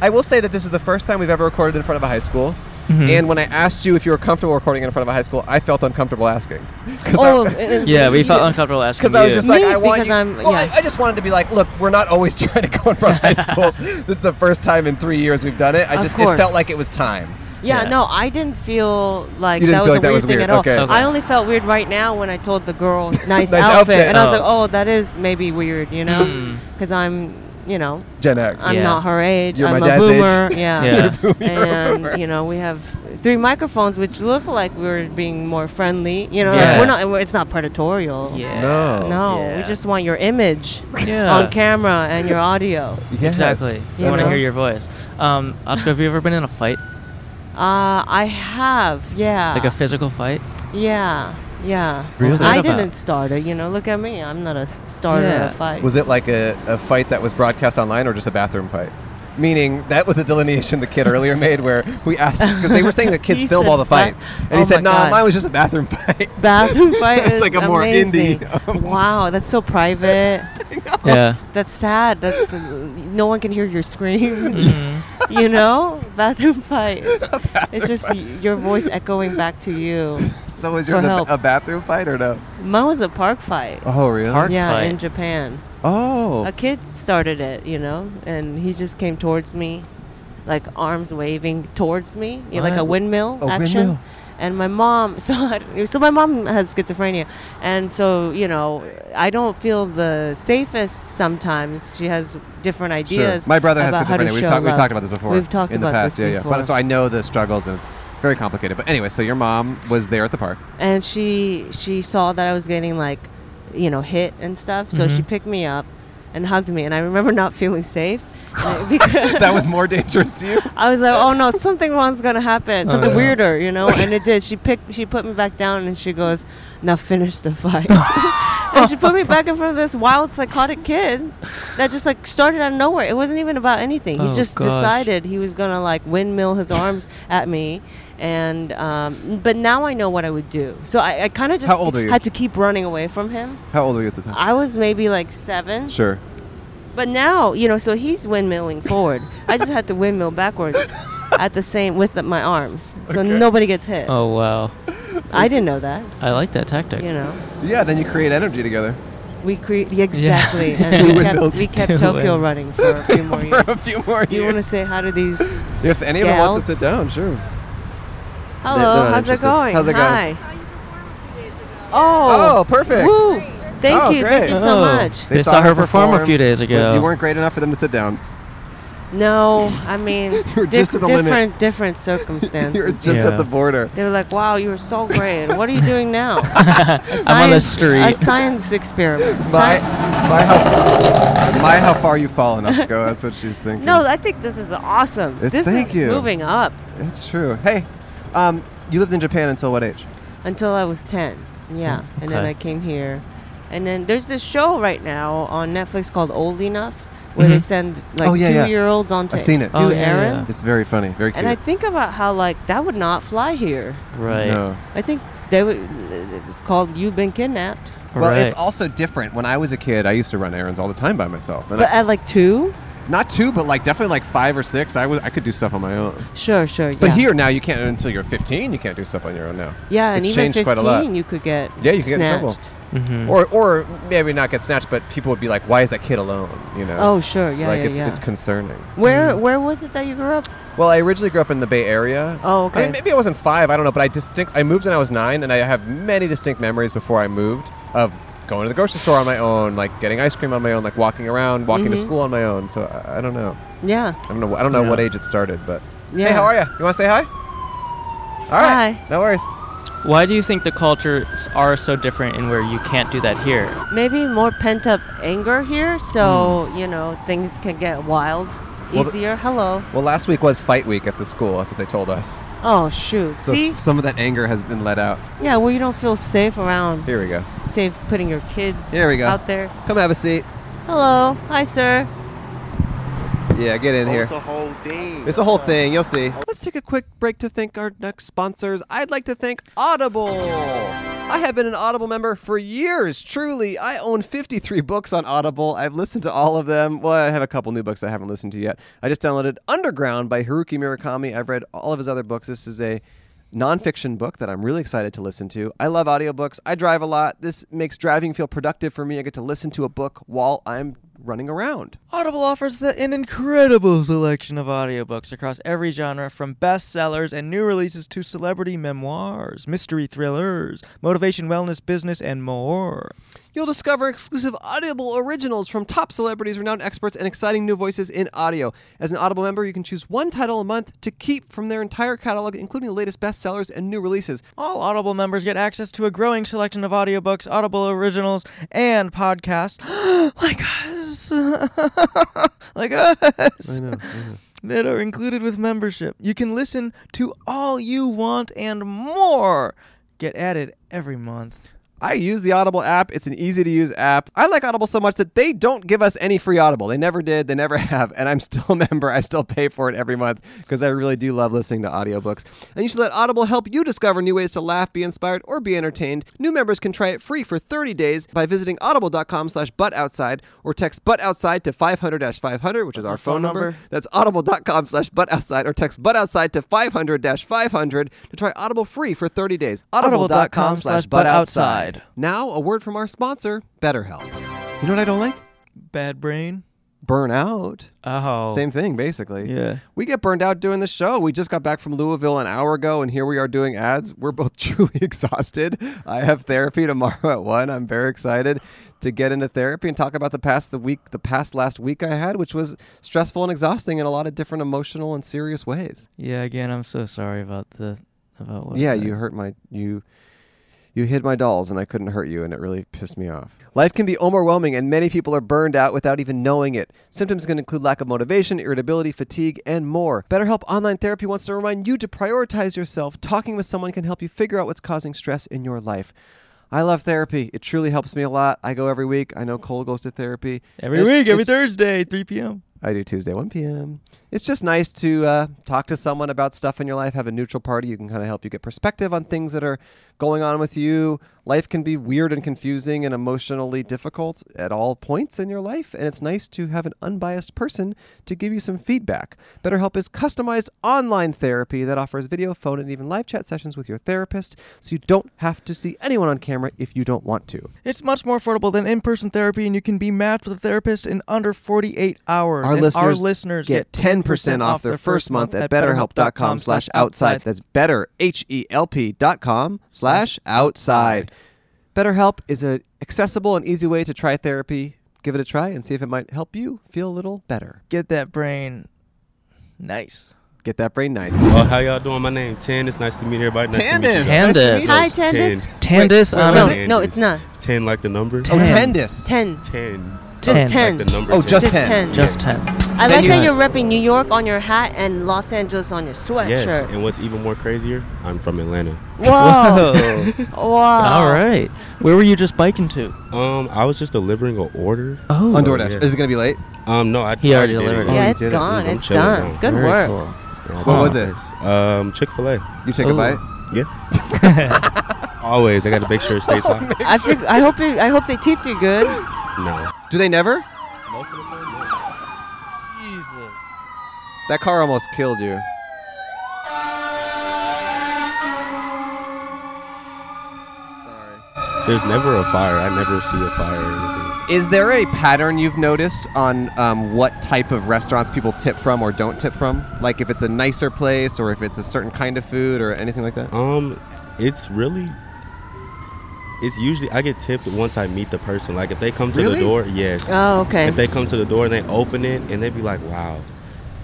Speaker 2: I will say that this is the first time we've ever recorded in front of a high school.
Speaker 8: Mm-hmm.
Speaker 2: Mm-hmm. And when I asked you if you were comfortable recording in front of a high school, I felt uncomfortable asking. Cause
Speaker 8: oh,
Speaker 2: I,
Speaker 8: uh,
Speaker 1: Yeah, we
Speaker 8: you-
Speaker 1: felt uncomfortable asking.
Speaker 2: because I was
Speaker 1: you.
Speaker 2: just like,
Speaker 8: Me?
Speaker 2: I want
Speaker 8: Because
Speaker 2: you.
Speaker 8: I'm-
Speaker 2: well, I-
Speaker 8: yeah.
Speaker 2: I, just wanted to be like, look, we're not always trying to go in front of high schools. this is the first time in three years we've done it. I
Speaker 8: Of
Speaker 2: just it
Speaker 8: course.
Speaker 2: felt like it was time.
Speaker 8: Yeah,
Speaker 1: Yeah.
Speaker 8: no, I didn't feel like
Speaker 2: You didn't feel
Speaker 8: that was
Speaker 2: like
Speaker 8: a
Speaker 2: that
Speaker 8: weird
Speaker 2: was
Speaker 8: thing
Speaker 2: weird.
Speaker 8: at all.
Speaker 2: Okay.
Speaker 8: I only felt weird right now when I told the girl nice,
Speaker 2: Nice
Speaker 8: outfit,
Speaker 2: outfit. Hmm.
Speaker 8: and I was
Speaker 1: Oh.
Speaker 8: like, oh, that is maybe weird, you know, because I'm. you know,
Speaker 2: Gen X.
Speaker 8: I'm
Speaker 1: Yeah.
Speaker 8: not her age.
Speaker 2: You're
Speaker 8: I'm
Speaker 2: my
Speaker 8: a
Speaker 2: dad's age.
Speaker 8: boomer. Yeah.
Speaker 1: Yeah.
Speaker 8: and you know we have three microphones, which look like we're being more friendly. You know, like,
Speaker 1: Yeah.
Speaker 8: we're not. we're- It's not predatorial.
Speaker 1: Yeah.
Speaker 2: No.
Speaker 8: No, we
Speaker 1: Oh, Yeah.
Speaker 8: just want your image
Speaker 1: Yeah.
Speaker 8: on camera and your audio.
Speaker 2: Yes.
Speaker 1: Exactly. You
Speaker 8: You
Speaker 1: want to
Speaker 8: know?
Speaker 1: hear your voice. Um, Oscar, have you ever been in a fight,
Speaker 8: Uh, I have, yeah.
Speaker 1: like a physical fight?
Speaker 8: yeah, yeah.
Speaker 1: Really? What was
Speaker 8: I
Speaker 1: that about?
Speaker 8: didn't start it, you know. Look at me. I'm not a s- starter
Speaker 1: Yeah.
Speaker 8: of fights.
Speaker 2: Was it like a, a fight that was broadcast online or just a bathroom fight? Meaning that was the delineation the kid earlier made where we asked because they were saying that kids
Speaker 8: He
Speaker 2: film
Speaker 8: said
Speaker 2: all the
Speaker 8: ba-
Speaker 2: fights. And he
Speaker 8: Oh
Speaker 2: said,
Speaker 8: my
Speaker 2: No,
Speaker 8: God.
Speaker 2: mine was just a bathroom fight.
Speaker 8: bathroom fight?
Speaker 2: It's
Speaker 8: is
Speaker 2: like a more indie- um,
Speaker 8: amazing. wow, that's so private. That's, that's sad. That's no one can hear your screams.
Speaker 1: Mm-hmm.
Speaker 8: you know, bathroom fight. It's just y- your voice echoing back to you.
Speaker 2: so was
Speaker 8: For
Speaker 2: yours a,
Speaker 8: help.
Speaker 2: a bathroom fight or no?
Speaker 8: Mine was a park fight.
Speaker 2: Oh really?
Speaker 1: Park
Speaker 8: yeah,
Speaker 1: fight.
Speaker 8: in Japan.
Speaker 2: Oh.
Speaker 8: A kid started it, you know, and he just came towards me, like arms waving towards me, you know, like a
Speaker 1: What?
Speaker 8: windmill
Speaker 2: A
Speaker 8: action.
Speaker 2: windmill.
Speaker 8: And my mom, so I, so my mom has schizophrenia, and so you know, I don't feel the safest sometimes. She has different ideas.
Speaker 2: My brother has
Speaker 8: about how to
Speaker 2: schizophrenia. We've,
Speaker 8: show
Speaker 2: talked we've
Speaker 8: love.
Speaker 2: talked about this before.
Speaker 8: We've talked
Speaker 2: in
Speaker 8: about
Speaker 2: the past.
Speaker 8: this
Speaker 2: yeah,
Speaker 8: before.
Speaker 2: yeah. But so I know the struggles and it's very complicated. But anyway, so your mom was there at the park.
Speaker 8: and she she saw that I was getting like, you know, hit and stuff. So
Speaker 2: Mm-hmm.
Speaker 8: she picked me up and hugged me, and I remember not feeling safe uh, because
Speaker 2: that was more dangerous to you.
Speaker 8: I was like, oh no, something wrong's gonna happen,
Speaker 2: Uh-huh.
Speaker 8: something weirder, you know. And it did. She picked, she put me back down, and she goes, now finish the fight. and she put me back in front of this wild psychotic kid that just like started out of nowhere. It wasn't even about anything.
Speaker 1: Oh,
Speaker 8: he just
Speaker 1: gosh.
Speaker 8: decided he was gonna like windmill his arms at me. And um, but now I know what I would do. So I, I kind of just
Speaker 2: How old are you?
Speaker 8: had to keep running away from him.
Speaker 2: How old were you at the time?
Speaker 8: I was maybe like seven.
Speaker 2: sure.
Speaker 8: But now, you know, so he's windmilling forward. I just had to windmill backwards at the same with the, my arms, so nobody gets hit.
Speaker 1: Oh wow.
Speaker 8: I didn't know that.
Speaker 1: I like that tactic.
Speaker 8: You know,
Speaker 2: Yeah. Then you create energy together.
Speaker 8: we create exactly,
Speaker 1: Two
Speaker 8: and we
Speaker 2: windmills.
Speaker 8: kept, we kept
Speaker 1: Two
Speaker 8: Tokyo
Speaker 1: windmills.
Speaker 8: running for a few more
Speaker 2: For
Speaker 8: years.
Speaker 2: a few more
Speaker 8: Oh, Do you want to
Speaker 2: years.
Speaker 8: say hi to these?
Speaker 2: If any of them wants
Speaker 8: gals?
Speaker 2: to sit down, sure.
Speaker 8: Hello,
Speaker 2: not
Speaker 8: how's it
Speaker 2: interested.
Speaker 8: going?
Speaker 2: How's it
Speaker 8: hi.
Speaker 2: going?
Speaker 8: Oh,
Speaker 2: Oh, perfect.
Speaker 8: woo! Thank
Speaker 2: Oh,
Speaker 8: you,
Speaker 2: great.
Speaker 8: thank you so
Speaker 1: Oh.
Speaker 8: much.
Speaker 1: They saw her perform a few days
Speaker 2: but
Speaker 1: ago.
Speaker 2: You weren't great enough for them to sit down.
Speaker 8: No, I mean,
Speaker 2: were
Speaker 8: diff-
Speaker 2: just at the limit.
Speaker 8: different, different circumstances.
Speaker 2: You were just
Speaker 1: Yeah.
Speaker 2: at the border.
Speaker 8: They were like, "Wow, you were so great. What are you doing now?" A
Speaker 1: I'm on the
Speaker 8: science-
Speaker 1: street.
Speaker 8: A science experiment.
Speaker 2: My,
Speaker 8: Sci-
Speaker 2: my, how, my how far you've fallen, Oscar. That's what she's thinking.
Speaker 8: no, I think this is awesome.
Speaker 2: It's-
Speaker 8: this
Speaker 2: thank
Speaker 8: is
Speaker 2: you.
Speaker 8: moving up.
Speaker 2: That's true. Hey, um, you lived in Japan until what age?
Speaker 8: Until I was ten, yeah,
Speaker 2: Mm,
Speaker 8: and then
Speaker 1: okay.
Speaker 8: I came here, and then there's this show right now on Netflix called Old Enough, where they
Speaker 1: Mhm.
Speaker 8: send like
Speaker 2: Oh, yeah, yeah.
Speaker 8: two-year-olds on to
Speaker 2: I've seen it.
Speaker 8: do
Speaker 1: Oh, yeah, yeah.
Speaker 8: errands.
Speaker 2: It's very funny, very cute.
Speaker 8: And I think about how like that would not fly here.
Speaker 1: Right.
Speaker 2: no.
Speaker 8: I think they would. It's called "You've Been Kidnapped,"
Speaker 2: Well,
Speaker 1: right.
Speaker 2: it's also different. When I was a kid, I used to run errands all the time by myself. And
Speaker 8: but
Speaker 2: I,
Speaker 8: at like two.
Speaker 2: not two, but like definitely like five or six. I was I could do stuff on my own.
Speaker 8: Sure, sure.
Speaker 2: But
Speaker 8: yeah.
Speaker 2: here now, you can't until you're 15. You can't do stuff on your own now.
Speaker 8: Yeah,
Speaker 2: It's
Speaker 8: and even
Speaker 2: changed quite a
Speaker 8: 15,
Speaker 2: lot.
Speaker 8: you could get
Speaker 2: Yeah, you could get in trouble.
Speaker 8: snatched.
Speaker 1: Mhm.
Speaker 2: Or or maybe not get snatched, but people would be like, "Why is that kid alone?" You know.
Speaker 8: Oh, sure, yeah,
Speaker 2: like
Speaker 8: yeah,
Speaker 2: it's
Speaker 8: yeah.
Speaker 2: it's concerning.
Speaker 8: where where was it that you grew up?
Speaker 2: Well, I originally grew up in the Bay Area.
Speaker 8: Oh,
Speaker 2: I
Speaker 8: okay.
Speaker 2: mean, maybe I wasn't five. I don't know, but I distinct. I moved when I was nine, and I have many distinct memories before I moved of going to the grocery store on my own, like getting ice cream on my own, like walking around, walking
Speaker 8: Mm-hmm.
Speaker 2: to school on my own. So I, I don't know.
Speaker 8: Yeah.
Speaker 2: I don't know. I don't know
Speaker 1: Yeah.
Speaker 2: what age it started, but hey,
Speaker 8: Yeah.
Speaker 2: how are you? You want to say hi? All right.
Speaker 8: Hi.
Speaker 2: No worries.
Speaker 1: Why do you think the cultures are so different in where you can't do that here?
Speaker 8: Maybe more pent up anger here, so you know things can get wild
Speaker 2: Well, the-
Speaker 8: easier. Hello.
Speaker 2: Well, last week was fight week at the school. That's what they told us.
Speaker 8: Oh shoot.
Speaker 2: So
Speaker 8: See?
Speaker 2: s- some of that anger has been let out.
Speaker 8: yeah. Well, you don't feel safe around.
Speaker 2: Here we go.
Speaker 8: Safe putting your kids
Speaker 2: Here we go.
Speaker 8: out there.
Speaker 2: Come have a seat.
Speaker 8: Hello. Hi, sir.
Speaker 2: Yeah, get in here.
Speaker 9: It's a whole thing.
Speaker 2: It's a whole thing. You'll see. Let's take a quick break to thank our next sponsors. I'd like to thank Audible. I have been an Audible member for years. Truly, I own 53 books on Audible. I've listened to all of them. Well, I have a couple new books I haven't listened to yet. I just downloaded Underground by Haruki Murakami. I've read all of his other books. This is a nonfiction book that I'm really excited to listen to. I love audiobooks. I drive a lot. This makes driving feel productive for me. I get to listen to a book while I'm running around.
Speaker 1: Audible offers the, an incredible selection of audiobooks across every genre, from bestsellers and new releases to celebrity memoirs, mystery thrillers, motivation, wellness, business, and more.
Speaker 2: You'll discover exclusive Audible originals from top celebrities, renowned experts, and exciting new voices in audio. As an Audible member, you can choose one title a month to keep from their entire catalog, including the latest bestsellers and new releases.
Speaker 1: All Audible members get access to a growing selection of audiobooks, Audible originals, and podcasts like us. like us. That are included with membership. You can listen to all you want and more. Get added every month.
Speaker 2: I use the Audible app. It's an easy to use app. I like Audible so much that they don't give us any free Audible. They never did, they never have, and I'm still a member. I still pay for it every month because I really do love listening to audiobooks. And you should let Audible help you discover new ways to laugh, be inspired, or be entertained. New members can try it free for 30 days by visiting audible.com slash butoutside or text butoutside to 500-500, which is our phone,
Speaker 1: phone
Speaker 2: number.
Speaker 1: number.
Speaker 2: That's audible.com slash butoutside or text butoutside to 500-500 to try Audible free for 30 days.
Speaker 1: Audible.com slash butoutside.
Speaker 2: Now, a word from our sponsor, BetterHelp. You know what I don't like?
Speaker 1: Bad brain.
Speaker 2: Burnout.
Speaker 1: Oh.
Speaker 2: Same thing, basically.
Speaker 1: Yeah.
Speaker 2: We get burned out doing the show. We just got back from Louisville an hour ago, and here we are doing ads. We're both truly exhausted. I have therapy tomorrow at one. I'm very excited to get into therapy and talk about the past the week, the past last week I had, which was stressful and exhausting in a lot of different emotional and serious ways.
Speaker 1: Yeah, again, I'm so sorry about the about what.
Speaker 2: Yeah,
Speaker 1: I-
Speaker 2: you hurt my you you hid my dolls and I couldn't hurt you and it really pissed me off. Life can be overwhelming and many people are burned out without even knowing it. Symptoms can include lack of motivation, irritability, fatigue, and more. BetterHelp online therapy wants to remind you to prioritize yourself. Talking with someone can help you figure out what's causing stress in your life. I love therapy. It truly helps me a lot. I go every week. I know Cole goes to therapy.
Speaker 1: Every
Speaker 2: It's-
Speaker 1: week, every
Speaker 2: it's-
Speaker 1: Thursday, 3 p.m.
Speaker 2: I do Tuesday, 1 p.m. It's just nice to uh, talk to someone about stuff in your life, have a neutral party who can kind of help you get perspective on things that are going on with you. Life can be weird and confusing and emotionally difficult at all points in your life, and it's nice to have an unbiased person to give you some feedback. BetterHelp is customized online therapy that offers video, phone, and even live chat sessions with your therapist, so you don't have to see anyone on camera if you don't want to.
Speaker 1: It's much more affordable than in-person therapy, and you can be matched with a therapist in under 48 hours.
Speaker 2: Our
Speaker 1: And
Speaker 2: listeners,
Speaker 1: our listeners
Speaker 2: get 10% off their first month at betterhelp.com slash outside. That's better, H-E-L-P dot com slash outside. BetterHelp is an accessible and easy way to try therapy. Give it a try and see if it might help you feel a little better.
Speaker 1: Get that brain. Nice.
Speaker 2: Get that brain nice.
Speaker 9: Oh, how y'all doing? My name Tan. It's nice to meet everybody. Nice to meet you.
Speaker 1: Tandis.
Speaker 8: Hi,
Speaker 9: Ten.
Speaker 8: Tandis.
Speaker 1: Tandis.
Speaker 9: Wait,
Speaker 1: Anna.
Speaker 9: wait,
Speaker 8: No, no, it's not.
Speaker 9: Ten like the number.
Speaker 2: Oh,
Speaker 1: Ten.
Speaker 2: Tendis.
Speaker 8: Ten.
Speaker 9: Ten.
Speaker 1: Ten.
Speaker 8: Just ten.
Speaker 9: Like the number.
Speaker 2: Oh,
Speaker 9: ten.
Speaker 2: just
Speaker 8: Just
Speaker 2: ten.
Speaker 8: ten.
Speaker 1: Just 10.
Speaker 8: I
Speaker 2: Then
Speaker 8: like
Speaker 2: you-
Speaker 8: how you're repping New York on your hat and Los Angeles on your
Speaker 9: Yes.
Speaker 8: sweatshirt.
Speaker 9: And what's even more crazier? I'm from Atlanta.
Speaker 8: Whoa.
Speaker 1: Whoa.
Speaker 8: Whoa.
Speaker 1: All right. Where were you just biking to?
Speaker 9: Um, I was just delivering an order.
Speaker 1: Oh.
Speaker 2: On DoorDash.
Speaker 9: yeah.
Speaker 2: Is it going to be late?
Speaker 9: Um, no, I
Speaker 1: He already
Speaker 9: I did
Speaker 1: delivered it.
Speaker 9: Oh,
Speaker 8: Yeah,
Speaker 9: you
Speaker 8: it's
Speaker 9: did
Speaker 8: gone.
Speaker 9: I'm
Speaker 8: It's
Speaker 9: chilling
Speaker 8: done.
Speaker 9: now.
Speaker 8: Good
Speaker 1: Very
Speaker 8: work.
Speaker 1: cool.
Speaker 9: Yeah,
Speaker 2: What was
Speaker 9: wow.
Speaker 2: it?
Speaker 9: Um, Chick Fil A.
Speaker 2: You take a
Speaker 1: Ooh.
Speaker 2: bite?
Speaker 9: Yeah. Always, I got to make sure it stays hot.
Speaker 8: I, think, I hope you, I hope they tipped you good.
Speaker 9: No.
Speaker 2: Do they never?
Speaker 1: Jesus.
Speaker 2: That car almost killed you. Sorry.
Speaker 9: There's never a fire. I never see a fire or anything.
Speaker 2: Is there a pattern you've noticed on um, what type of restaurants people tip from or don't tip from? Like if it's a nicer place or if it's a certain kind of food or anything like that?
Speaker 9: Um, it's really. It's usually I get tipped once I meet the person. Like if they come to
Speaker 2: Really?
Speaker 9: the door, yes.
Speaker 8: Oh, okay.
Speaker 9: If they come to the door and they open it and they be like, "Wow,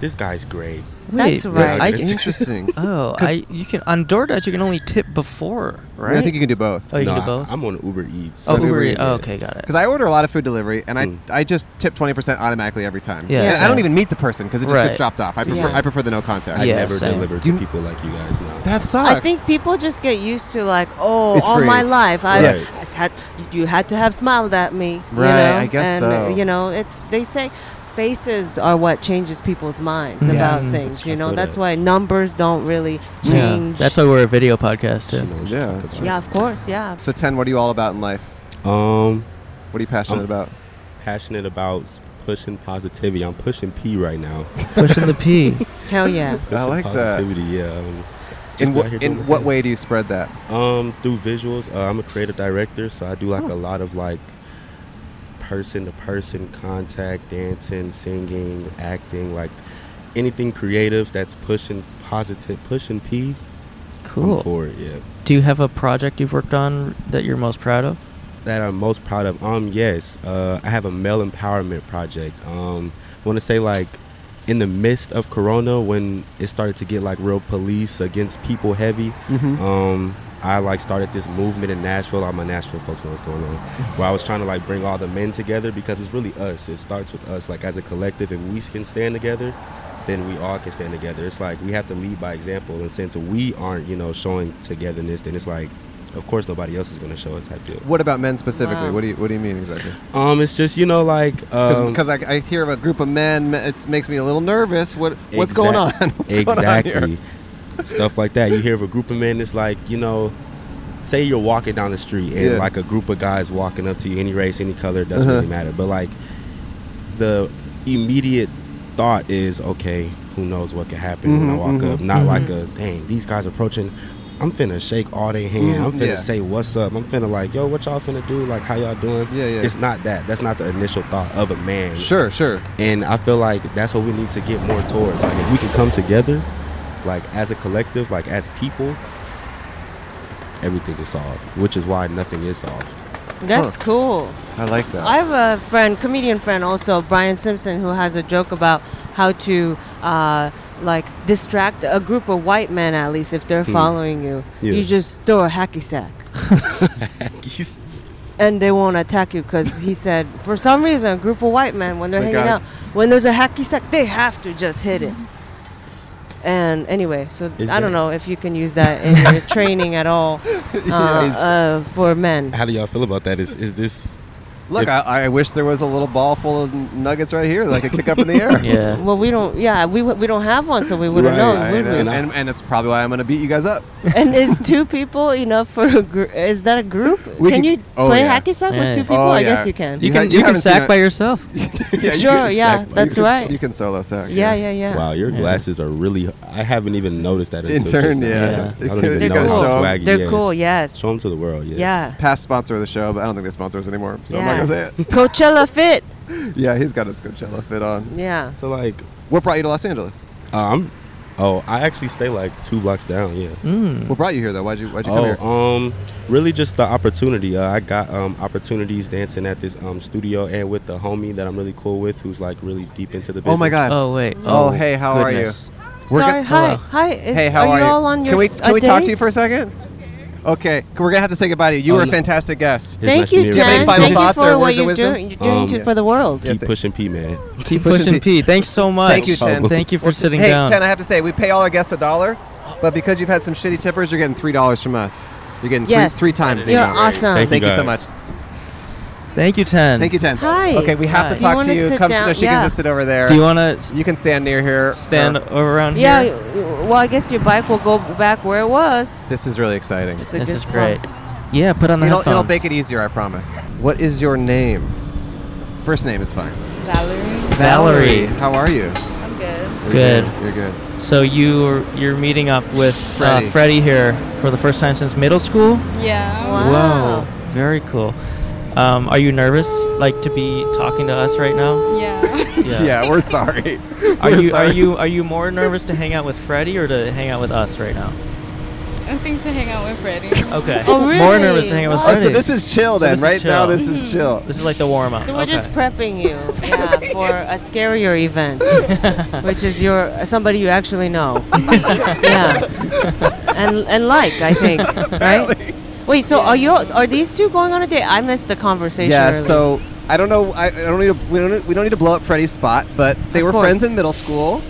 Speaker 9: this guy's great."
Speaker 8: That's
Speaker 1: Wait,
Speaker 8: right.
Speaker 1: I,
Speaker 9: It's-
Speaker 2: Interesting.
Speaker 1: oh, I you can on DoorDash you can only tip before, right?
Speaker 2: I think you can do both.
Speaker 1: oh, you can
Speaker 9: I-
Speaker 1: do both.
Speaker 9: I'm on Uber Eats.
Speaker 1: oh,
Speaker 2: Uber
Speaker 1: Uber.
Speaker 2: Eats.
Speaker 1: Eats. Oh, okay, got it.
Speaker 2: Because I order a lot of food delivery and I,
Speaker 9: Mm.
Speaker 2: I just tip 20% automatically every time.
Speaker 1: Yeah,
Speaker 2: And I don't
Speaker 1: same.
Speaker 2: even meet the person because it just gets
Speaker 1: Right.
Speaker 2: dropped off. I prefer,
Speaker 8: Yeah.
Speaker 2: I prefer the no contact.
Speaker 9: I
Speaker 1: Yeah,
Speaker 9: never
Speaker 1: same.
Speaker 9: deliver to
Speaker 2: You-
Speaker 9: people like you guys now.
Speaker 2: That sucks.
Speaker 8: I think people just get used to like, oh,
Speaker 2: It's
Speaker 8: all
Speaker 2: free.
Speaker 8: my life I
Speaker 9: Right.
Speaker 8: I s- had you had to have smiled at me.
Speaker 2: Right,
Speaker 8: You know?
Speaker 2: I guess
Speaker 8: and, uh,
Speaker 2: so.
Speaker 8: You know, it's they say faces are what changes people's minds about
Speaker 1: Yes.
Speaker 8: things. You
Speaker 9: I
Speaker 8: know,
Speaker 9: feel
Speaker 8: that's
Speaker 9: that.
Speaker 8: why numbers don't really
Speaker 1: Yeah,
Speaker 8: change.
Speaker 1: that's why we're a video podcast
Speaker 9: She
Speaker 1: too.
Speaker 9: knows
Speaker 2: Yeah,
Speaker 9: what
Speaker 2: that's
Speaker 9: she's
Speaker 8: yeah, of course, yeah.
Speaker 2: So, 10, what are you all about in life?
Speaker 9: talking about. Um,
Speaker 2: What are you passionate
Speaker 9: Um,
Speaker 2: about?
Speaker 9: passionate about s- pushing positivity. I'm pushing P right now.
Speaker 1: Pushing the P.
Speaker 8: Hell yeah.
Speaker 9: Pushing
Speaker 2: like that.
Speaker 9: positivity. Yeah. Um, just
Speaker 2: In,
Speaker 9: be
Speaker 2: what
Speaker 9: out here doing my
Speaker 2: in what
Speaker 9: thing.
Speaker 2: way do you spread that?
Speaker 9: Um, through visuals, uh, I'm a creative director, so I do like a lot of like person to person contact, dancing, singing, acting, like anything creative that's pushing positive, pushing P.
Speaker 1: Cool.
Speaker 9: I'm for it, yeah.
Speaker 1: Do you have a project you've worked on that you're most proud of?
Speaker 9: that I'm most proud of? Um, yes, uh, I have a male empowerment project. Um, I want to say like in the midst of Corona, when it started to get like real police against people heavy,
Speaker 2: Mhm.
Speaker 9: um, I like started this movement in Nashville. All my Nashville folks know what's going on. Where I was trying to like bring all the men together because it's really us. It starts with us, like as a collective. If we can stand together, then we all can stand together. It's like we have to lead by example. And since we aren't, you know, showing togetherness, then it's like, of course, nobody else is going to show it type deal.
Speaker 2: What about men specifically?
Speaker 8: Wow.
Speaker 2: What do you What do you mean exactly?
Speaker 9: Um, it's just you know like um,
Speaker 2: Because I, I hear of a group of men, it makes me a little nervous. What What's going
Speaker 9: exact-
Speaker 2: on? What's going on
Speaker 9: exactly,
Speaker 2: here?
Speaker 9: stuff like that. You hear of a group of men. It's like you know, say you're walking down the street and
Speaker 2: Yeah.
Speaker 9: like a group of guys walking up to you, any race, any color, it doesn't
Speaker 2: Uh-huh.
Speaker 9: really matter. But like the immediate thought is, okay, who knows what could happen when I
Speaker 2: Mhm,
Speaker 9: walk up?
Speaker 2: mhm.
Speaker 9: Not like a dang, these guys approaching. I'm finna shake all they hand. I'm finna
Speaker 2: Mm-hmm, Yeah.
Speaker 9: say what's up. I'm finna like, yo, what y'all finna do? Like, how y'all doing?
Speaker 2: Yeah, yeah.
Speaker 9: It's not that. That's not the initial thought of a man.
Speaker 2: Sure, sure.
Speaker 9: And I feel like that's what we need to get more towards. Like if we can come together, like as a collective, like as people, everything is solved. Which is why nothing is solved.
Speaker 8: That's cool.
Speaker 2: I like that.
Speaker 8: I have a friend, comedian friend also, Brian Simpson, who has a joke about how to uh, like distract a group of white men at least if they're following you.
Speaker 9: Hmm. Yeah.
Speaker 8: You just throw a hacky sack. And they won't attack you because he said, for some reason, a group of white men, when they're
Speaker 2: They
Speaker 8: hanging
Speaker 2: gotta-
Speaker 8: out, when there's a hacky sack, they have to just hit it. And anyway, so
Speaker 9: Is
Speaker 8: I don't
Speaker 9: that-
Speaker 8: know if you can use that in your training at all uh, uh, for men.
Speaker 9: How do y'all feel about that? Is is this
Speaker 2: Look,
Speaker 9: If-
Speaker 2: I, I wish there was a little ball full of n- nuggets right here that I could kick up in the air.
Speaker 1: Yeah.
Speaker 8: Well, we don't. Yeah, we, w- we don't have one, so we wouldn't
Speaker 9: Right,
Speaker 8: know,
Speaker 9: I
Speaker 8: would
Speaker 9: know.
Speaker 8: we?
Speaker 2: And, and, and it's probably why I'm going to beat you guys up.
Speaker 8: And is two people enough for a group? Is that a group?
Speaker 2: We
Speaker 8: can,
Speaker 2: can-
Speaker 8: you
Speaker 2: oh,
Speaker 8: play
Speaker 2: yeah.
Speaker 8: hacky sack
Speaker 1: Yeah.
Speaker 8: with two people?
Speaker 2: Oh,
Speaker 8: I
Speaker 2: yeah.
Speaker 8: guess you can.
Speaker 2: You
Speaker 1: You
Speaker 2: ha-
Speaker 1: can you
Speaker 2: you
Speaker 1: can
Speaker 2: haven't seen
Speaker 1: sack
Speaker 2: it.
Speaker 1: by yourself.
Speaker 2: Yeah, you
Speaker 8: Sure,
Speaker 2: can
Speaker 8: yeah,
Speaker 2: sack-
Speaker 8: that's
Speaker 2: you can-
Speaker 8: right.
Speaker 2: You can solo sack.
Speaker 8: yeah, yeah, yeah.
Speaker 9: wow, your glasses are really I haven't even noticed that until
Speaker 2: Intern,
Speaker 9: just now.
Speaker 2: yeah.
Speaker 9: I don't
Speaker 2: You
Speaker 9: even
Speaker 8: They're
Speaker 9: know
Speaker 8: cool.
Speaker 9: how swaggy
Speaker 8: They're
Speaker 9: yeah, it's-
Speaker 8: cool. Yes.
Speaker 9: Show them to the world, yeah.
Speaker 8: Yeah.
Speaker 2: Past sponsor of the show, but I don't think they sponsor us anymore, so I'm not
Speaker 8: Yeah.
Speaker 2: going to say
Speaker 8: Coachella fit.
Speaker 2: it. yeah, he's got his Coachella fit on.
Speaker 8: Yeah.
Speaker 9: So like
Speaker 2: What brought you to Los Angeles?
Speaker 9: uh, I'm oh, I actually stay like two blocks down, yeah.
Speaker 1: Mm.
Speaker 2: What brought you here, though? Why'd you, why'd you come
Speaker 9: Oh,
Speaker 2: here?
Speaker 9: um, really just the opportunity. Uh, I got um, opportunities dancing at this um, studio and with the homie that I'm really cool with, who's like really deep into the business.
Speaker 2: oh, my God.
Speaker 1: Oh wait.
Speaker 2: Oh, hey, how are you?
Speaker 1: goodness.
Speaker 2: We're
Speaker 8: Sorry.
Speaker 2: go-
Speaker 8: hi.
Speaker 1: hello.
Speaker 8: Hi. Is,
Speaker 2: hey, how
Speaker 8: are
Speaker 2: are,
Speaker 8: you all on your?
Speaker 2: Can we,
Speaker 8: a
Speaker 2: can we talk to
Speaker 8: date?
Speaker 2: you for a second? Okay, we're going to have to say goodbye to you. You
Speaker 9: Oh,
Speaker 2: were a
Speaker 9: no.
Speaker 2: fantastic guest.
Speaker 9: It's
Speaker 8: Thank
Speaker 9: nice to
Speaker 8: you,
Speaker 9: meet
Speaker 2: everybody.
Speaker 8: Dan.
Speaker 2: Final
Speaker 8: Thank you
Speaker 2: thoughts or
Speaker 8: for what
Speaker 2: words of
Speaker 8: you're
Speaker 2: wisdom?
Speaker 8: doing. You're doing
Speaker 9: Um,
Speaker 8: to, for the world.
Speaker 2: Yeah,
Speaker 9: Keep
Speaker 2: th-
Speaker 9: pushing P, man.
Speaker 1: Keep
Speaker 2: Pushing
Speaker 1: pushing P.
Speaker 2: P.
Speaker 1: Thanks so much.
Speaker 2: Thank you, Chen.
Speaker 1: Thank you for
Speaker 2: Well,
Speaker 1: sitting
Speaker 2: hey,
Speaker 1: down.
Speaker 2: Chen, I have to say, we pay all our guests a dollar, but because you've had some shitty tippers, you're getting three dollars from us. You're getting
Speaker 8: Yes.
Speaker 2: three, three times the
Speaker 8: You're
Speaker 2: amount.
Speaker 8: awesome.
Speaker 9: Thank
Speaker 2: Thank,
Speaker 9: you,
Speaker 2: you, so much.
Speaker 9: guys.
Speaker 1: Thank you, Chen.
Speaker 2: Thank you, Chen.
Speaker 8: Hi.
Speaker 2: Okay, we have
Speaker 1: Hi.
Speaker 2: to
Speaker 8: You
Speaker 2: talk to
Speaker 8: wanna
Speaker 2: you.
Speaker 8: sit
Speaker 2: Come,
Speaker 8: down?
Speaker 2: No, she
Speaker 8: Yeah.
Speaker 2: can just sit over there.
Speaker 1: Do you want to
Speaker 2: you can stand near here.
Speaker 1: stand
Speaker 2: Her.
Speaker 1: over around
Speaker 8: yeah.
Speaker 1: here?
Speaker 8: y- y- Well, I guess your bike will go back where it was.
Speaker 2: This is really exciting.
Speaker 8: It's a
Speaker 1: This
Speaker 8: good
Speaker 1: is
Speaker 8: spot.
Speaker 1: great. Yeah, put on the
Speaker 2: It'll,
Speaker 1: headphones.
Speaker 2: it'll make it easier, I promise. What is your name? First name is fine.
Speaker 6: Valerie,
Speaker 1: Valerie.
Speaker 2: How are you?
Speaker 6: I'm good.
Speaker 2: You're
Speaker 1: Good.
Speaker 2: You're good.
Speaker 1: So you you're meeting up with
Speaker 2: Freddie.
Speaker 1: Uh, Freddie here for the first time since middle school.
Speaker 6: Yeah.
Speaker 8: Wow.
Speaker 1: Whoa, very cool. Um, are you nervous, like to be talking to us right now?
Speaker 6: Yeah.
Speaker 2: Yeah, we're sorry.
Speaker 1: Are
Speaker 2: We're
Speaker 1: you are
Speaker 2: sorry.
Speaker 1: you are you more nervous to hang out with Freddie or to hang out with us right now?
Speaker 6: I think to hang out with Freddie.
Speaker 1: Okay.
Speaker 8: Oh,
Speaker 1: More
Speaker 8: really?
Speaker 1: nervous to hang out with
Speaker 8: Wow.
Speaker 2: Oh,
Speaker 1: Freddie.
Speaker 2: so this is chill
Speaker 1: So
Speaker 2: then.
Speaker 1: this is
Speaker 2: right now,
Speaker 1: chill. Mm-hmm.
Speaker 2: this is chill.
Speaker 1: This is like the warm up.
Speaker 8: So we're just prepping you, yeah, for a scarier event, which is your somebody you actually know, yeah, and and like I think, right? Wait, so are you are these two going on a date? I missed the conversation.
Speaker 2: Yeah,
Speaker 8: earlier.
Speaker 2: so I don't know. I, I don't need. To, we don't. We don't need to blow up Freddie's spot, but they
Speaker 8: Of
Speaker 2: were
Speaker 8: course.
Speaker 2: friends in middle school,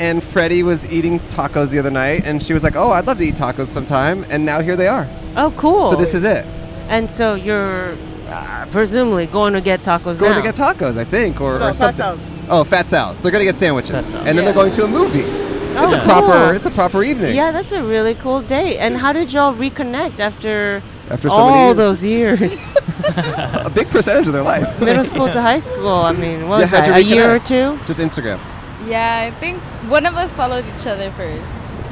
Speaker 2: and Freddie was eating tacos the other night, and she was like, "Oh, I'd love to eat tacos sometime," and now here they are.
Speaker 8: oh cool.
Speaker 2: So this is it.
Speaker 8: and so you're uh, presumably going to get tacos
Speaker 2: Going
Speaker 8: now.
Speaker 2: to get tacos, I think, or, or something. Oh, Fat Sal's. They're gonna get
Speaker 1: Fat
Speaker 2: sandwiches,
Speaker 1: Sal's.
Speaker 2: and then they're going to a movie.
Speaker 8: Oh,
Speaker 2: it's a
Speaker 8: cool.
Speaker 2: proper. It's a proper evening.
Speaker 8: Yeah, that's a really cool date. And how did y'all reconnect after,
Speaker 2: After so many
Speaker 8: all
Speaker 2: years.
Speaker 8: those years,
Speaker 2: A big percentage of their life.
Speaker 8: middle school to high school? I mean, what
Speaker 2: Yeah,
Speaker 8: was
Speaker 2: how'd
Speaker 8: that?
Speaker 2: you
Speaker 8: A year or
Speaker 2: reconnect?
Speaker 8: two?
Speaker 2: Just Instagram,
Speaker 6: yeah, I think one of us followed each other first.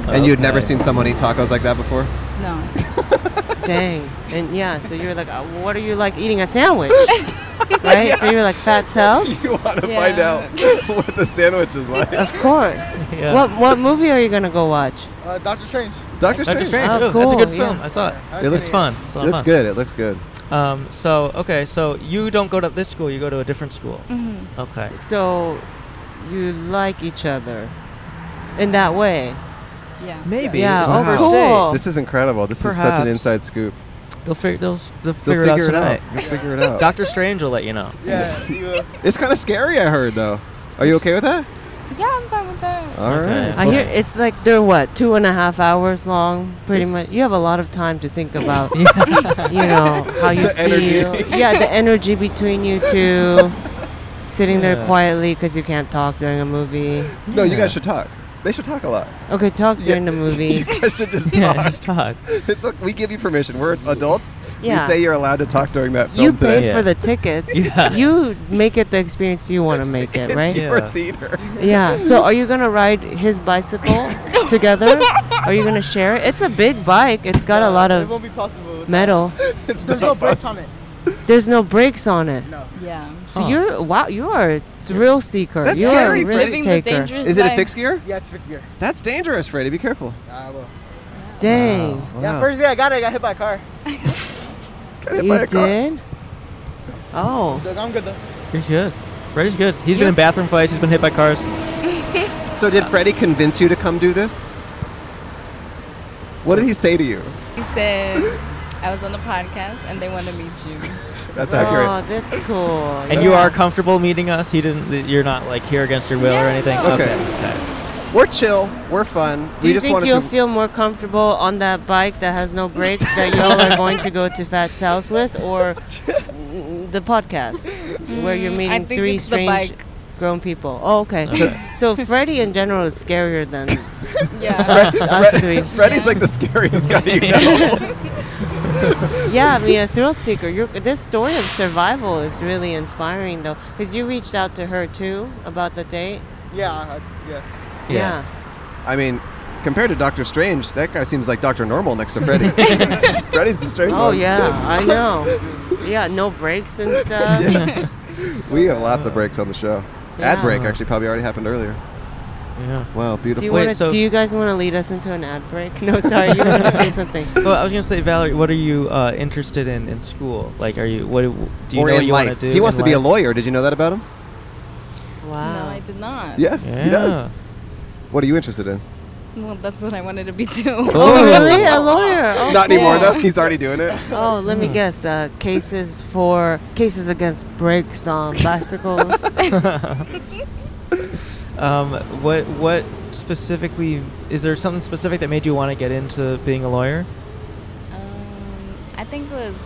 Speaker 2: and you'd never seen someone eat tacos like that before.
Speaker 6: No.
Speaker 8: Dang. And yeah, so you're like, uh, what are you like eating a sandwich? right? So you were like fat cells.
Speaker 2: you want to find
Speaker 10: Yeah.
Speaker 2: out what the sandwich is like.
Speaker 8: Of course.
Speaker 1: Yeah.
Speaker 8: What what movie are you gonna go watch?
Speaker 4: Uh, Doctor Strange.
Speaker 1: Doctor
Speaker 2: Doctor Strange.
Speaker 1: Strange.
Speaker 8: Oh,
Speaker 1: ooh, That's a
Speaker 8: cool,
Speaker 1: good
Speaker 8: yeah.
Speaker 1: film. I saw it.
Speaker 4: I've
Speaker 2: It
Speaker 4: seen
Speaker 2: looks
Speaker 4: it.
Speaker 1: Fun. It's a
Speaker 2: It
Speaker 1: lot of
Speaker 2: looks
Speaker 1: fun.
Speaker 2: good. It looks good.
Speaker 1: Um, so okay, so you don't go to this school. You go to a different school.
Speaker 10: hmm
Speaker 8: Mm-hmm.
Speaker 1: Okay.
Speaker 8: So you like each other in that way.
Speaker 10: Yeah.
Speaker 1: Maybe.
Speaker 8: Yeah.
Speaker 1: It was
Speaker 8: Oh,
Speaker 1: the first
Speaker 8: cool.
Speaker 1: date.
Speaker 2: This is incredible. This is such an
Speaker 1: Perhaps.
Speaker 2: inside scoop.
Speaker 1: They'll, fig- they'll, s- they'll
Speaker 2: They'll
Speaker 1: figure it out tonight.
Speaker 2: They'll figure it out.
Speaker 1: Doctor Strange will let you know.
Speaker 4: Yeah. you, uh,
Speaker 2: it's kind of scary. I heard though. Are you okay with that?
Speaker 10: Yeah, I'm fine with that.
Speaker 2: All right.
Speaker 1: Okay.
Speaker 8: I hear it's like they're what two and a half hours long, pretty
Speaker 1: Yes.
Speaker 8: much. You have a lot of time to think about, you know, how you
Speaker 2: The energy.
Speaker 8: feel. Yeah, the energy between you two, sitting
Speaker 1: Yeah.
Speaker 8: there quietly because you can't talk during a movie.
Speaker 2: No, you
Speaker 1: Yeah.
Speaker 2: guys should talk. They should talk a lot.
Speaker 8: Okay, talk during the
Speaker 2: you
Speaker 8: movie.
Speaker 2: guys should just
Speaker 1: Yeah,
Speaker 2: talk.
Speaker 1: just talk.
Speaker 2: It's okay. We give you permission. We're adults.
Speaker 8: Yeah.
Speaker 2: We say you're allowed to talk during that film
Speaker 8: You
Speaker 2: today.
Speaker 8: paid for the tickets.
Speaker 1: Yeah.
Speaker 8: You make it the experience you want to make it,
Speaker 2: It's
Speaker 8: right?
Speaker 1: you.
Speaker 2: your
Speaker 1: Yeah.
Speaker 2: theater.
Speaker 8: Yeah. So are you gonna ride his bicycle together? Are you gonna share it? It's a big bike. It's got a lot
Speaker 4: it won't
Speaker 8: of
Speaker 4: be possible.
Speaker 8: metal.
Speaker 2: It's not
Speaker 4: There's no
Speaker 2: about-
Speaker 4: Oh, brakes on it.
Speaker 8: There's no brakes on it.
Speaker 4: No.
Speaker 10: Yeah.
Speaker 8: So
Speaker 1: Huh.
Speaker 8: you're wow, you are a thrill seeker.
Speaker 2: That's
Speaker 8: you
Speaker 2: scary
Speaker 8: are a
Speaker 2: for
Speaker 8: risk
Speaker 10: Living the
Speaker 8: taker.
Speaker 10: dangerous
Speaker 2: Is it a
Speaker 10: life.
Speaker 2: fixed gear?
Speaker 4: Yeah, it's fixed gear. Uh,
Speaker 2: That's dangerous, Freddy. Be careful.
Speaker 4: I will.
Speaker 8: Dang,
Speaker 4: Yeah,
Speaker 2: Wow.
Speaker 4: first day I got it, I got hit by a car.
Speaker 2: Got hit by
Speaker 8: you
Speaker 2: a car.
Speaker 8: did. Oh,
Speaker 4: So I'm good though.
Speaker 1: He's good. Freddy's good. He's been in bathroom fights. He's been hit by cars.
Speaker 2: So did Freddy convince you to come do this? What did he say to you?
Speaker 10: He said I was on the podcast and they want to meet you.
Speaker 2: That's
Speaker 8: oh,
Speaker 2: accurate.
Speaker 8: that's cool.
Speaker 1: And you are comfortable meeting us. He didn't. You're not like here against your will or
Speaker 10: Yeah,
Speaker 1: anything.
Speaker 10: no.
Speaker 1: Okay.
Speaker 2: Okay. We're chill. We're fun.
Speaker 8: Do
Speaker 2: we
Speaker 8: you
Speaker 2: just
Speaker 8: think
Speaker 2: wanted
Speaker 8: you'll
Speaker 2: to.
Speaker 8: feel more comfortable on that bike that has no brakes that y'all are going to go to Fat Sal's with, or the podcast where you're
Speaker 10: Mm, I
Speaker 8: meeting
Speaker 10: think
Speaker 8: three
Speaker 10: it's the
Speaker 8: strange
Speaker 10: bike.
Speaker 8: grown people? Oh, okay. so Freddy in general is scarier than
Speaker 10: Yeah.
Speaker 8: us, us three.
Speaker 2: Freddy's
Speaker 10: Yeah.
Speaker 2: like the scariest guy you know.
Speaker 8: Yeah, I mean, a thrill seeker. You're, this story of survival is really inspiring, though, because you reached out to her too about the date.
Speaker 4: Yeah, I, yeah.
Speaker 1: Yeah.
Speaker 2: I mean, compared to Doctor Strange, that guy seems like Doctor Normal next to Freddy. Freddy's the strange
Speaker 8: Oh
Speaker 2: one.
Speaker 8: yeah, I know. Yeah, no breaks and stuff.
Speaker 2: We have lots of breaks on the show. Ad
Speaker 8: Yeah.
Speaker 2: break actually probably already happened earlier.
Speaker 1: Yeah.
Speaker 2: Wow, beautiful.
Speaker 8: Do you
Speaker 1: Wait,
Speaker 8: want to?
Speaker 1: so-
Speaker 8: do you guys want to lead us into an ad break? No, sorry, you want to say something.
Speaker 1: Well, I was gonna say, Valerie, what are you uh, interested in in school? Like, are you what do do you
Speaker 2: or
Speaker 1: know
Speaker 2: in
Speaker 1: what you want
Speaker 2: life.
Speaker 1: to do?
Speaker 2: he wants
Speaker 1: in
Speaker 2: to be a
Speaker 1: life?
Speaker 2: lawyer. Did you know that about him?
Speaker 10: No,
Speaker 8: Wow.
Speaker 10: I did not.
Speaker 2: Yes, he
Speaker 1: Yeah.
Speaker 2: does. What are you interested in?
Speaker 10: Well, that's what I wanted to be too.
Speaker 8: Oh, really? A lawyer? Oh,
Speaker 2: Not anymore
Speaker 8: cool.
Speaker 2: though. He's already doing it.
Speaker 8: Oh, let me guess. Uh, cases for cases against brakes on bicycles.
Speaker 1: Um, what what specifically is there something specific that made you want to get into being a lawyer?
Speaker 10: Um, I think it was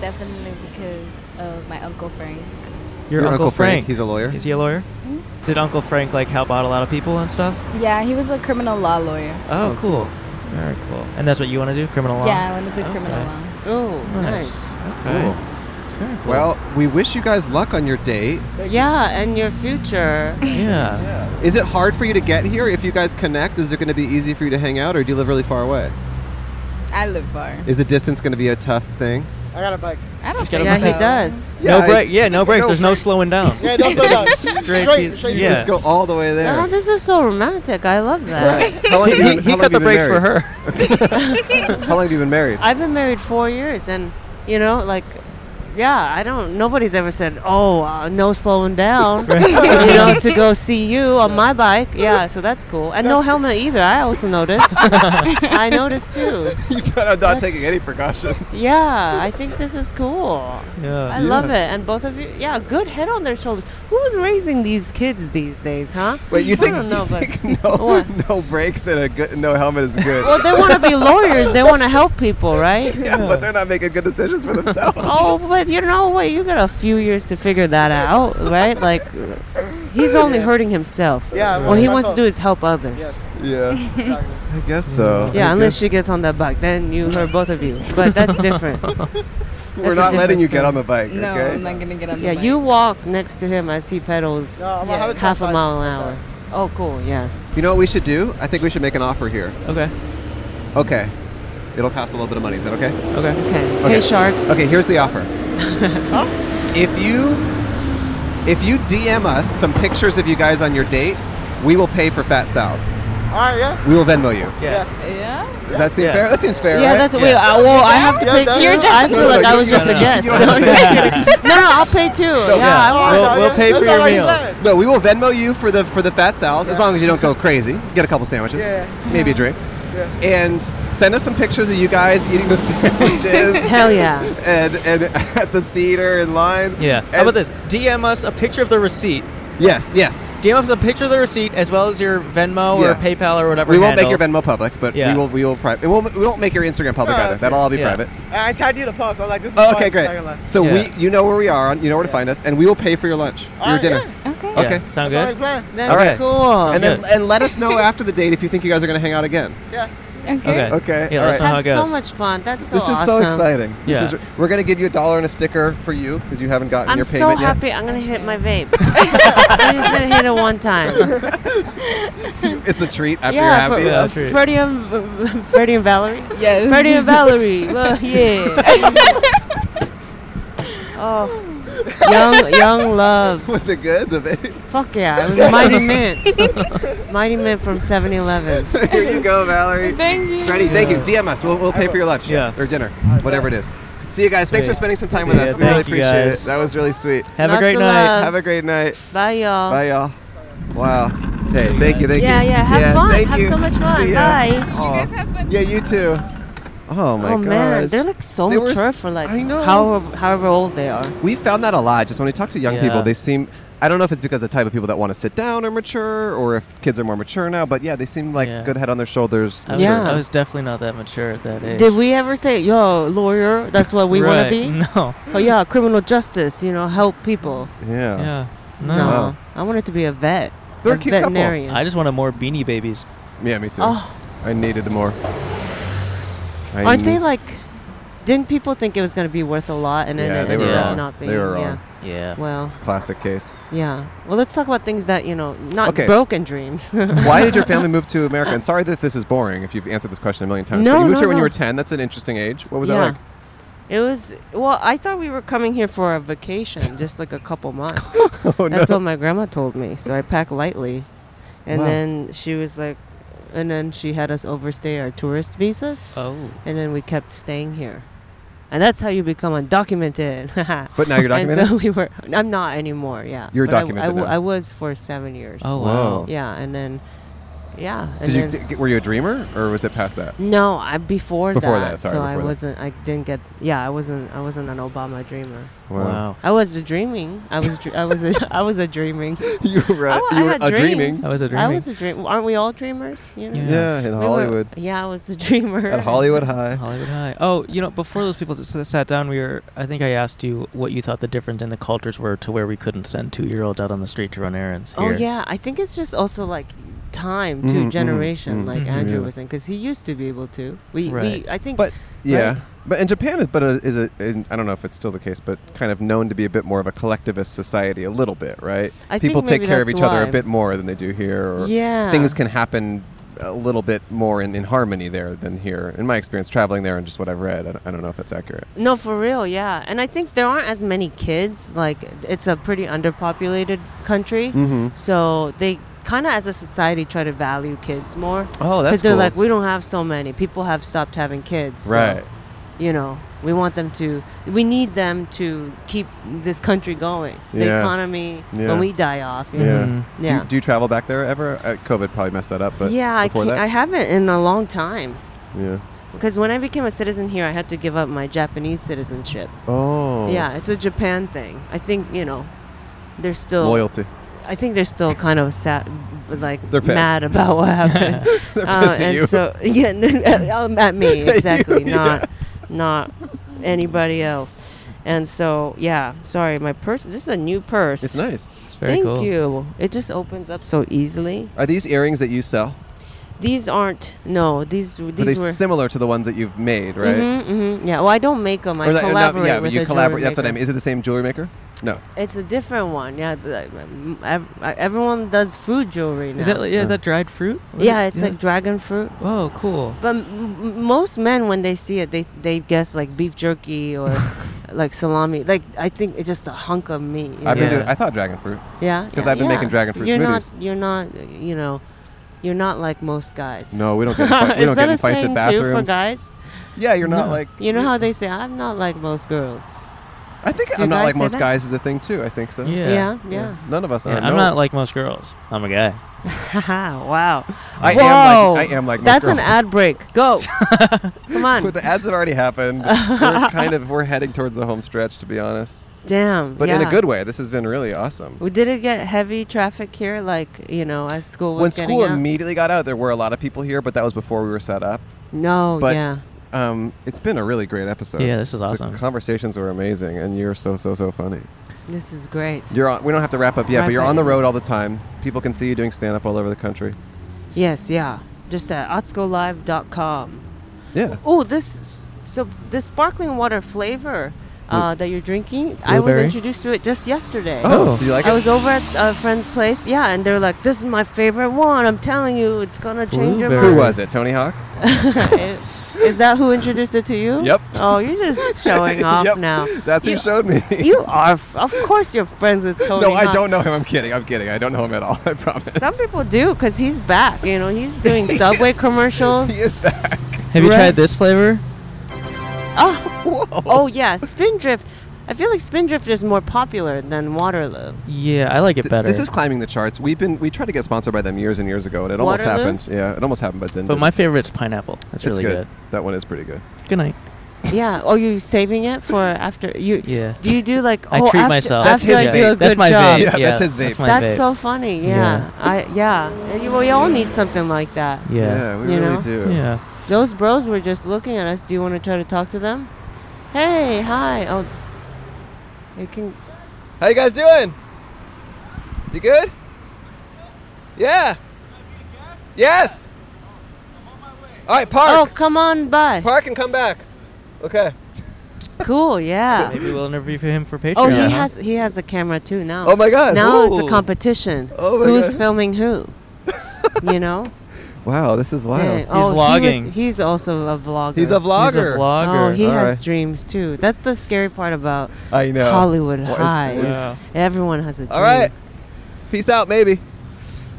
Speaker 10: definitely because of my uncle Frank.
Speaker 1: Your,
Speaker 2: He's a lawyer.
Speaker 1: Is he a lawyer? Did Uncle Frank like help out a lot of people and stuff?
Speaker 10: Yeah, he was a criminal law lawyer.
Speaker 1: Oh, cool. Very cool. And that's what you want to do, criminal law?
Speaker 10: Yeah, I wanted to do
Speaker 1: Okay.
Speaker 10: criminal law.
Speaker 8: Oh, nice.
Speaker 1: Okay.
Speaker 2: Cool.
Speaker 1: Very cool.
Speaker 2: Well, we wish you guys luck on your date.
Speaker 8: Yeah, and your future.
Speaker 1: yeah.
Speaker 2: Is it hard for you to get here? If you guys connect, is it going to be easy for you to hang out, or do you live really far away?
Speaker 10: I live far.
Speaker 2: Is the distance going to be a tough thing?
Speaker 4: I got a bike.
Speaker 10: I don't
Speaker 1: Just gotta
Speaker 10: think
Speaker 8: Yeah, he
Speaker 10: so.
Speaker 8: does.
Speaker 1: no break. Yeah, no breaks. There's no slowing down.
Speaker 4: Yeah, don't slow down.
Speaker 1: Straight
Speaker 4: Straight,
Speaker 1: pe-
Speaker 4: straight.
Speaker 1: yeah.
Speaker 2: Just go all the way there.
Speaker 8: Oh, this is so romantic. I love that.
Speaker 2: Right. How long
Speaker 1: he
Speaker 2: have you been-
Speaker 1: he,
Speaker 2: how
Speaker 1: cut
Speaker 2: long have you
Speaker 1: the
Speaker 2: been
Speaker 1: brakes for
Speaker 2: married?
Speaker 1: her.
Speaker 2: How long have you been married?
Speaker 8: I've been married four years, and you know, like, yeah, I don't. Nobody's ever said, "Oh, uh, no slowing down," you know, to go see you on my bike. Yeah, so that's cool, and no helmet either. I also noticed. I noticed too.
Speaker 2: you are not taking any precautions.
Speaker 8: Yeah, I think this is cool. I
Speaker 1: Yeah.
Speaker 8: love it, and both of you. Yeah, good head on their shoulders. Who's raising these kids these days, huh?
Speaker 2: Wait, you think,
Speaker 8: I don't know,
Speaker 2: you
Speaker 8: but-
Speaker 2: think no,
Speaker 8: What?
Speaker 2: no brakes and a good, no helmet is good?
Speaker 8: Well, they want to be lawyers. They want to help people, right?
Speaker 2: yeah, but they're not making good decisions for themselves.
Speaker 8: Oh, but you know what? You got a few years to figure that out, right? Like, he's only hurting himself.
Speaker 4: Yeah,
Speaker 8: What he
Speaker 4: myself.
Speaker 8: wants to do is help others.
Speaker 4: Yes.
Speaker 2: yeah,
Speaker 4: Exactly.
Speaker 2: I guess so.
Speaker 8: Yeah,
Speaker 2: I
Speaker 8: unless
Speaker 2: guess
Speaker 8: she gets on that bike, then you hurt both of you. But that's different.
Speaker 2: we're
Speaker 8: that's a
Speaker 2: not letting
Speaker 8: different
Speaker 2: you get
Speaker 8: story.
Speaker 2: on the bike.
Speaker 10: No,
Speaker 2: okay?
Speaker 10: I'm not gonna get on
Speaker 8: Yeah,
Speaker 10: the bike.
Speaker 8: you walk next to him as he pedals
Speaker 4: No, Oh, I'm gonna
Speaker 10: Yeah.
Speaker 4: have it till
Speaker 8: half a
Speaker 4: five.
Speaker 8: mile an hour. Oh, cool. Yeah.
Speaker 2: You know what we should do? I think we should make an offer here.
Speaker 1: Okay.
Speaker 2: Okay. It'll cost a little bit of money. Is that okay?
Speaker 1: Okay.
Speaker 8: Okay.
Speaker 2: Okay.
Speaker 8: Hey, sharks.
Speaker 2: Okay, here's the offer. if you if you DM us some pictures of you guys on your date, we will pay for Fat Sal's.
Speaker 10: All right, yeah.
Speaker 2: We will Venmo you.
Speaker 7: Yeah.
Speaker 6: Yeah.
Speaker 2: Does that seem
Speaker 7: Yeah.
Speaker 2: fair? That seems fair,
Speaker 8: yeah,
Speaker 2: right?
Speaker 8: that's wait. I, well, I have to
Speaker 10: Yeah,
Speaker 8: pay
Speaker 10: that-
Speaker 8: too.
Speaker 10: You're
Speaker 8: I
Speaker 6: just-
Speaker 8: feel like I was
Speaker 2: you don't
Speaker 8: just a
Speaker 2: have to-
Speaker 8: guest.
Speaker 2: you
Speaker 8: No,
Speaker 2: don't have to pay.
Speaker 8: no, no, I'll pay too.
Speaker 2: Ah,
Speaker 8: Yeah.
Speaker 10: All right,
Speaker 7: We'll-
Speaker 10: all right,
Speaker 7: we'll
Speaker 10: yeah.
Speaker 7: pay for
Speaker 10: That's
Speaker 7: your
Speaker 10: already
Speaker 7: meals.
Speaker 10: planned.
Speaker 2: No, we will Venmo you for the for the fat sal's as
Speaker 10: Yeah.
Speaker 2: long as you don't go crazy. Get a couple sandwiches,
Speaker 10: Yeah.
Speaker 2: maybe a drink,
Speaker 10: Yeah.
Speaker 2: and send us some pictures of you guys eating the sandwiches
Speaker 8: Hell yeah.
Speaker 2: and and at the theater in line.
Speaker 7: Yeah. How
Speaker 2: And-
Speaker 7: about this? DM us a picture of the receipt.
Speaker 2: Yes, yes.
Speaker 7: DM us a picture of the receipt as well as your Venmo
Speaker 2: Yeah.
Speaker 7: or PayPal or whatever.
Speaker 2: We won't make
Speaker 7: handle.
Speaker 2: your Venmo public, but
Speaker 7: Yeah.
Speaker 2: we will we will private. We won't, we won't make your Instagram public
Speaker 10: No,
Speaker 2: either.
Speaker 10: that's
Speaker 2: That'll all be
Speaker 7: Yeah.
Speaker 2: private.
Speaker 10: I I tagged you to post. I was like, this is
Speaker 2: Oh, okay,
Speaker 10: fun, not gonna lie.
Speaker 2: great. So
Speaker 7: Yeah.
Speaker 2: we you know where we are on you know where to find us, and we will pay for your lunch, your
Speaker 10: Alright,
Speaker 2: dinner.
Speaker 10: yeah.
Speaker 6: Okay.
Speaker 7: Yeah.
Speaker 2: Okay.
Speaker 7: Sound
Speaker 10: That's already
Speaker 7: good?
Speaker 10: planned.
Speaker 8: That's
Speaker 7: All right.
Speaker 8: cool.
Speaker 2: And then
Speaker 7: Yes.
Speaker 2: and let us know after the date if you think you guys are going to hang out again.
Speaker 10: Yeah.
Speaker 6: Okay.
Speaker 7: Okay.
Speaker 2: Okay,
Speaker 7: Yeah,
Speaker 2: all
Speaker 7: let us
Speaker 2: right.
Speaker 7: know how it
Speaker 8: That's so
Speaker 7: goes.
Speaker 8: much fun. That's so
Speaker 2: This is
Speaker 8: awesome.
Speaker 2: so exciting. This
Speaker 7: Yeah.
Speaker 2: is, we're going to give you a dollar and a sticker for you because you haven't gotten
Speaker 8: I'm
Speaker 2: your
Speaker 8: so
Speaker 2: payment
Speaker 8: happy. I'm gonna hit my vape. I'm just gonna hit it one time.
Speaker 2: yet. It's a treat after
Speaker 8: yeah, for,
Speaker 2: you're
Speaker 7: Yeah,
Speaker 8: uh,
Speaker 2: happy.
Speaker 7: sure.
Speaker 8: Freddie and Freddie and Valerie.
Speaker 6: Yes.
Speaker 8: Freddie and Valerie. Well, yeah. oh, young young love.
Speaker 2: Was it good? The vape?
Speaker 8: Fuck yeah! It was Mighty Mint. Mighty Mint from 7-Eleven.
Speaker 2: Here you go, Valerie.
Speaker 6: Thank you.
Speaker 2: Freddie, thank you. DM us. We'll, we'll pay for your lunch
Speaker 7: Yeah.
Speaker 2: or dinner, whatever it is. See you guys. Thanks for
Speaker 7: Sweet.
Speaker 2: spending some time
Speaker 7: See
Speaker 2: with
Speaker 7: ya.
Speaker 2: us. We really
Speaker 7: Thank you,
Speaker 2: appreciate it.
Speaker 7: guys.
Speaker 2: That was really sweet.
Speaker 7: Have a
Speaker 8: Lots
Speaker 7: great
Speaker 8: of
Speaker 7: night.
Speaker 8: love.
Speaker 2: Have a great night.
Speaker 8: Bye y'all.
Speaker 2: Bye, y'all. Wow. Hey, thank you. Thank
Speaker 8: Yeah,
Speaker 2: you.
Speaker 8: yeah. Have fun.
Speaker 2: thank
Speaker 8: Have
Speaker 2: you.
Speaker 8: so much fun.
Speaker 2: See ya.
Speaker 8: Bye.
Speaker 2: Aw.
Speaker 6: guys have fun.
Speaker 2: Yeah, you too. Oh my
Speaker 8: oh man,
Speaker 2: gosh.
Speaker 8: they're like so
Speaker 2: They were s-
Speaker 8: mature for like
Speaker 2: I know.
Speaker 8: however however old they are.
Speaker 2: we found that a lot. Just when we talk to young people,
Speaker 7: Yeah.
Speaker 2: they seem. I don't know if it's because the type of people that want to sit down are mature, or if kids are more mature now. But yeah, they seem like
Speaker 7: Yeah.
Speaker 2: good head on their shoulders.
Speaker 7: I was,
Speaker 8: Yeah.
Speaker 7: I was definitely not that mature at that age.
Speaker 8: Did we ever say, "Yo, lawyer, that's what we want to
Speaker 7: Right.
Speaker 8: be"?
Speaker 7: No.
Speaker 8: Oh yeah, criminal justice. You know, help people.
Speaker 2: Yeah.
Speaker 7: Yeah.
Speaker 8: No,
Speaker 7: No.
Speaker 2: Wow.
Speaker 8: I wanted to be a vet.
Speaker 2: They're
Speaker 8: a
Speaker 2: a cute couple.
Speaker 8: veterinarian.
Speaker 7: I just wanted more beanie babies.
Speaker 2: Yeah, me too.
Speaker 8: oh,
Speaker 2: I needed more. I
Speaker 8: aren't they
Speaker 2: need-
Speaker 8: like? Didn't people think it was going to be worth a lot, and then
Speaker 2: Yeah,
Speaker 8: it
Speaker 2: they
Speaker 8: ended
Speaker 2: were
Speaker 7: Yeah.
Speaker 8: up
Speaker 2: wrong.
Speaker 8: not being?
Speaker 2: They were
Speaker 8: Yeah.
Speaker 2: wrong.
Speaker 7: Yeah.
Speaker 8: Well,
Speaker 2: Classic case.
Speaker 8: yeah. Well, let's talk about things that you know, not
Speaker 2: Okay.
Speaker 8: broken dreams.
Speaker 2: Why did your family move to America? And sorry that this is boring if you've answered this question a million times. but
Speaker 8: No,
Speaker 2: you moved
Speaker 8: no,
Speaker 2: here when
Speaker 8: no.
Speaker 2: you were 10. That's an interesting age. What was
Speaker 8: yeah.
Speaker 2: that like?
Speaker 8: It was well. I thought we were coming here for a vacation, just like a couple months.
Speaker 2: Oh,
Speaker 8: That's what my grandma told me. So I packed lightly, and
Speaker 2: Wow.
Speaker 8: then she was like, and then she had us overstay our tourist visas,
Speaker 7: Oh.
Speaker 8: and then we kept staying here, and that's how you become undocumented.
Speaker 2: But now you're
Speaker 8: and
Speaker 2: documented?
Speaker 8: so we were. I'm not anymore. Yeah,
Speaker 2: You're
Speaker 8: But I- I,
Speaker 2: documented
Speaker 8: wa-
Speaker 2: now.
Speaker 8: I was for seven years.
Speaker 7: Oh
Speaker 2: Whoa.
Speaker 7: wow.
Speaker 8: yeah, and then yeah, and
Speaker 2: Did you,
Speaker 8: then.
Speaker 2: d- get- were you a dreamer or was it past that?
Speaker 8: no, I before,
Speaker 2: Before that, sorry,
Speaker 8: so
Speaker 2: before
Speaker 8: I
Speaker 2: that.
Speaker 8: wasn't. I didn't get. Yeah, I wasn't. I wasn't an Obama dreamer.
Speaker 7: Wow.
Speaker 8: I was a dreaming. I was. Dr- I was. A, I was a dreaming.
Speaker 2: you were, a,
Speaker 8: I wa- Oh, I
Speaker 2: you were
Speaker 8: had
Speaker 2: a dreaming.
Speaker 8: dreams.
Speaker 7: I was a
Speaker 8: I
Speaker 7: dreaming.
Speaker 8: was a dream. Aren't we all dreamers? You know?
Speaker 7: Oh, Yeah.
Speaker 2: Yeah, in
Speaker 8: We were-
Speaker 2: Hollywood.
Speaker 8: yeah, I was a dreamer.
Speaker 2: At Hollywood High.
Speaker 7: Hollywood High. Oh, you know, before those people that s- sat down, we were. I think I asked you what you thought the difference in the cultures were to where we couldn't send two-year-olds out on the street to run errands.
Speaker 8: Oh
Speaker 7: here.
Speaker 8: yeah, I think it's just also like time
Speaker 2: Mm,
Speaker 8: to
Speaker 2: mm,
Speaker 8: generation,
Speaker 2: mm,
Speaker 8: like
Speaker 7: mhm.
Speaker 8: Andrew
Speaker 2: Yeah.
Speaker 8: was in, because he used to be able to. We,
Speaker 7: Right.
Speaker 8: we I think.
Speaker 2: But yeah,
Speaker 8: Right.
Speaker 2: but in Japan is but a, is a in, I don't know if it's still the case, but kind of known to be a bit more of a collectivist society, a little bit, right?
Speaker 8: I think
Speaker 2: People take
Speaker 8: maybe
Speaker 2: care of
Speaker 8: that's
Speaker 2: each other a
Speaker 8: why.
Speaker 2: bit more than they do here, or
Speaker 8: yeah,
Speaker 2: things can happen a little bit more in, in harmony there than here. In my experience, traveling there and just what I've read, I don't, I don't know if that's accurate.
Speaker 8: No, for real, yeah. And I think there aren't as many kids. Like it's a pretty underpopulated country,
Speaker 2: Mm-hmm.
Speaker 8: so they kind of, as a society, try to value kids more.
Speaker 2: Oh,
Speaker 8: Because they're like, we don't have so many. People have stopped having kids. so,
Speaker 2: right.
Speaker 8: you know, we want them to, we need them to keep this country going. The
Speaker 2: Yeah.
Speaker 8: economy,
Speaker 2: Yeah.
Speaker 8: when we die off. You
Speaker 2: Yeah.
Speaker 8: Know?
Speaker 7: Mhm.
Speaker 2: Do,
Speaker 8: Mm-hmm. Yeah.
Speaker 2: you, do you travel back there ever? Uh, COVID probably messed that up, but
Speaker 8: yeah, I,
Speaker 2: before
Speaker 8: can't, I
Speaker 2: that,
Speaker 8: haven't in a long time.
Speaker 2: yeah.
Speaker 8: Because when I became a citizen here, I had to give up my Japanese citizenship.
Speaker 2: Oh,
Speaker 8: Yeah, it's a Japan thing. I think, you know, they're still,
Speaker 2: Loyalty.
Speaker 8: I think they're still kind of sad, like
Speaker 2: They're pissed.
Speaker 8: mad about what happened.
Speaker 2: They're
Speaker 8: Uh,
Speaker 2: pissed at
Speaker 8: and
Speaker 2: you.
Speaker 8: so yeah, um, at me
Speaker 2: you,
Speaker 8: exactly,
Speaker 2: yeah.
Speaker 8: not not anybody else. And so yeah, sorry, my purse. This is a new purse.
Speaker 2: it's nice.
Speaker 7: It's very
Speaker 8: Thank
Speaker 7: cool.
Speaker 8: you. It just opens up so easily.
Speaker 2: Are these earrings that you sell?
Speaker 8: These aren't no. These these
Speaker 2: Are they
Speaker 8: were
Speaker 2: similar to the ones that you've made, right?
Speaker 8: Mhm, mhm. Yeah. Well, I don't make them. I
Speaker 2: Or not- or not-
Speaker 8: collaborate
Speaker 2: yeah,
Speaker 8: with
Speaker 2: you
Speaker 8: a
Speaker 2: collaborate.
Speaker 8: jewelry
Speaker 2: That's what I
Speaker 8: maker.
Speaker 2: mean. Is it the same jewelry maker? No.
Speaker 8: It's a different one. Yeah. the- um, ev- everyone does food jewelry now.
Speaker 7: Is that like- yeah, is that dried fruit? Was
Speaker 8: yeah,
Speaker 7: it-
Speaker 8: it's like dragon fruit.
Speaker 7: Oh, cool.
Speaker 8: But m- m- most men, when they see it, they they guess like beef jerky or like salami. Like I think it's just a hunk of meat. you
Speaker 2: I've been
Speaker 8: know?
Speaker 2: doing. I thought dragon fruit.
Speaker 8: yeah,
Speaker 2: 'cause
Speaker 8: yeah,
Speaker 2: I've been
Speaker 8: yeah.
Speaker 2: making dragon fruit
Speaker 8: you're
Speaker 2: smoothies.
Speaker 8: Not, you're not, you know, you're not like most guys.
Speaker 2: No, we don't get. in fight- we
Speaker 8: Is
Speaker 2: don't
Speaker 8: that
Speaker 2: get in
Speaker 8: a
Speaker 2: fights
Speaker 8: saying
Speaker 2: at
Speaker 8: too for
Speaker 2: bathrooms.
Speaker 8: guys?
Speaker 2: Yeah, you're not like.
Speaker 8: You know how they say I'm not like most girls.
Speaker 2: I think
Speaker 8: Do
Speaker 2: I'm not
Speaker 8: guys
Speaker 2: like
Speaker 8: say
Speaker 2: most
Speaker 8: that?
Speaker 2: guys is a thing too. I think so.
Speaker 1: Yeah.
Speaker 8: Yeah, yeah.
Speaker 2: None of us
Speaker 1: Yeah,
Speaker 2: are.
Speaker 1: I'm
Speaker 2: no.
Speaker 1: not like most girls. I'm a guy.
Speaker 8: Haha, wow.
Speaker 2: I
Speaker 8: Whoa.
Speaker 2: am like. I am like. most
Speaker 8: That's an
Speaker 2: girls.
Speaker 8: ad break. Go. Come
Speaker 2: But
Speaker 8: on.
Speaker 2: the ads have already happened. we're kind of we're heading towards the home stretch, to be honest.
Speaker 8: Damn.
Speaker 2: But in a
Speaker 8: yeah.
Speaker 2: good way. This has been really awesome.
Speaker 8: We did it get heavy traffic here, like you know, as school was
Speaker 2: when
Speaker 8: getting
Speaker 2: school
Speaker 8: out?
Speaker 2: immediately got out, there were a lot of people here, but that was before we were set up.
Speaker 8: No,
Speaker 2: but
Speaker 8: yeah.
Speaker 2: um, it's been a really great episode.
Speaker 1: Yeah, this is awesome.
Speaker 2: The conversations were amazing, and you're so so so funny.
Speaker 8: This is great.
Speaker 2: You're on, we don't have to wrap up yet,
Speaker 8: Wrap
Speaker 2: but you're
Speaker 8: it
Speaker 2: on the
Speaker 8: up.
Speaker 2: road all the time. People can see you doing stand up all over the country.
Speaker 8: Yes, yeah. Just at otskolive.com.
Speaker 2: Yeah,
Speaker 8: Oh, this so this sparkling water flavor uh, that you're drinking. I was
Speaker 1: Blueberry?
Speaker 8: introduced to it just yesterday.
Speaker 2: Oh, do you like
Speaker 8: I
Speaker 2: it?
Speaker 8: was over at a friend's place, yeah, and they were like, "This is my favorite one. I'm telling you, it's gonna change your
Speaker 2: Who
Speaker 8: mind."
Speaker 2: was it? Tony Hawk.
Speaker 8: Is that who introduced it to you?
Speaker 2: Yep.
Speaker 8: Oh, you're just showing off
Speaker 2: Yep,
Speaker 8: now.
Speaker 2: That's
Speaker 8: You-
Speaker 2: who showed me.
Speaker 8: You are, f- of course, you're friends with Tony.
Speaker 2: no, I
Speaker 8: Hawk.
Speaker 2: don't know him. I'm kidding. I'm kidding. I don't know him at all. I promise.
Speaker 8: Some people do, cause he's back. You know, he's doing Subway commercials.
Speaker 2: he is back.
Speaker 1: Have you
Speaker 8: Right.
Speaker 1: tried this flavor?
Speaker 8: Oh,
Speaker 2: Whoa.
Speaker 8: oh yeah, Spindrift. I feel like Spindrift is more popular than Waterloo.
Speaker 1: Yeah, I like it
Speaker 2: Th-
Speaker 1: better.
Speaker 2: This is climbing the charts. We've been we tried to get sponsored by them years and years ago, and it almost
Speaker 8: Waterloo?
Speaker 2: happened. Yeah, it almost happened, but then
Speaker 1: but my favorite's pineapple. That's
Speaker 2: it's
Speaker 1: really
Speaker 2: good. That one is pretty good.
Speaker 1: good. Good night.
Speaker 8: Yeah. Oh, you saving it for after you?
Speaker 1: Yeah.
Speaker 8: Do you do like?
Speaker 1: I
Speaker 8: oh,
Speaker 1: treat
Speaker 8: after,
Speaker 1: myself.
Speaker 8: After
Speaker 2: his vape.
Speaker 8: I do a good
Speaker 1: That's my
Speaker 8: job.
Speaker 1: vape.
Speaker 2: Yeah, that's his vape.
Speaker 1: my
Speaker 8: That's
Speaker 1: vape.
Speaker 8: so funny. Yeah.
Speaker 1: Yeah.
Speaker 8: I yeah. And you, we all need something like that.
Speaker 1: Yeah.
Speaker 2: we
Speaker 8: You
Speaker 2: really
Speaker 8: know?
Speaker 2: do.
Speaker 1: Yeah.
Speaker 8: Those bros were just looking at us. Do you want to try to talk to them? Hey, hi. Oh, it can.
Speaker 2: How you guys doing? You good? Yeah. Yes. All right,
Speaker 8: Oh,
Speaker 2: park,
Speaker 8: come on by.
Speaker 2: park, and come back. Okay.
Speaker 8: Cool. Yeah.
Speaker 1: Maybe we'll interview him for Patreon.
Speaker 8: Oh, he
Speaker 1: huh?
Speaker 8: has he has a camera too now.
Speaker 2: Oh my God.
Speaker 8: Now it's
Speaker 1: Ooh.
Speaker 8: a competition.
Speaker 2: Oh my
Speaker 8: Who's
Speaker 2: God.
Speaker 8: filming who? you know.
Speaker 2: Wow, this is wild.
Speaker 8: Dang. Oh, he was-
Speaker 1: vlogging.
Speaker 8: he's also a vlogger.
Speaker 2: He's a vlogger.
Speaker 1: He's a
Speaker 8: Oh,
Speaker 1: vlogger.
Speaker 8: he
Speaker 2: All
Speaker 8: has
Speaker 2: right.
Speaker 8: dreams too. That's the scary part about
Speaker 2: I know.
Speaker 8: Hollywood
Speaker 2: Well, it's-
Speaker 8: High.
Speaker 2: it's-
Speaker 8: is
Speaker 1: Wow.
Speaker 8: Everyone has a dream.
Speaker 2: All right. Peace out, maybe.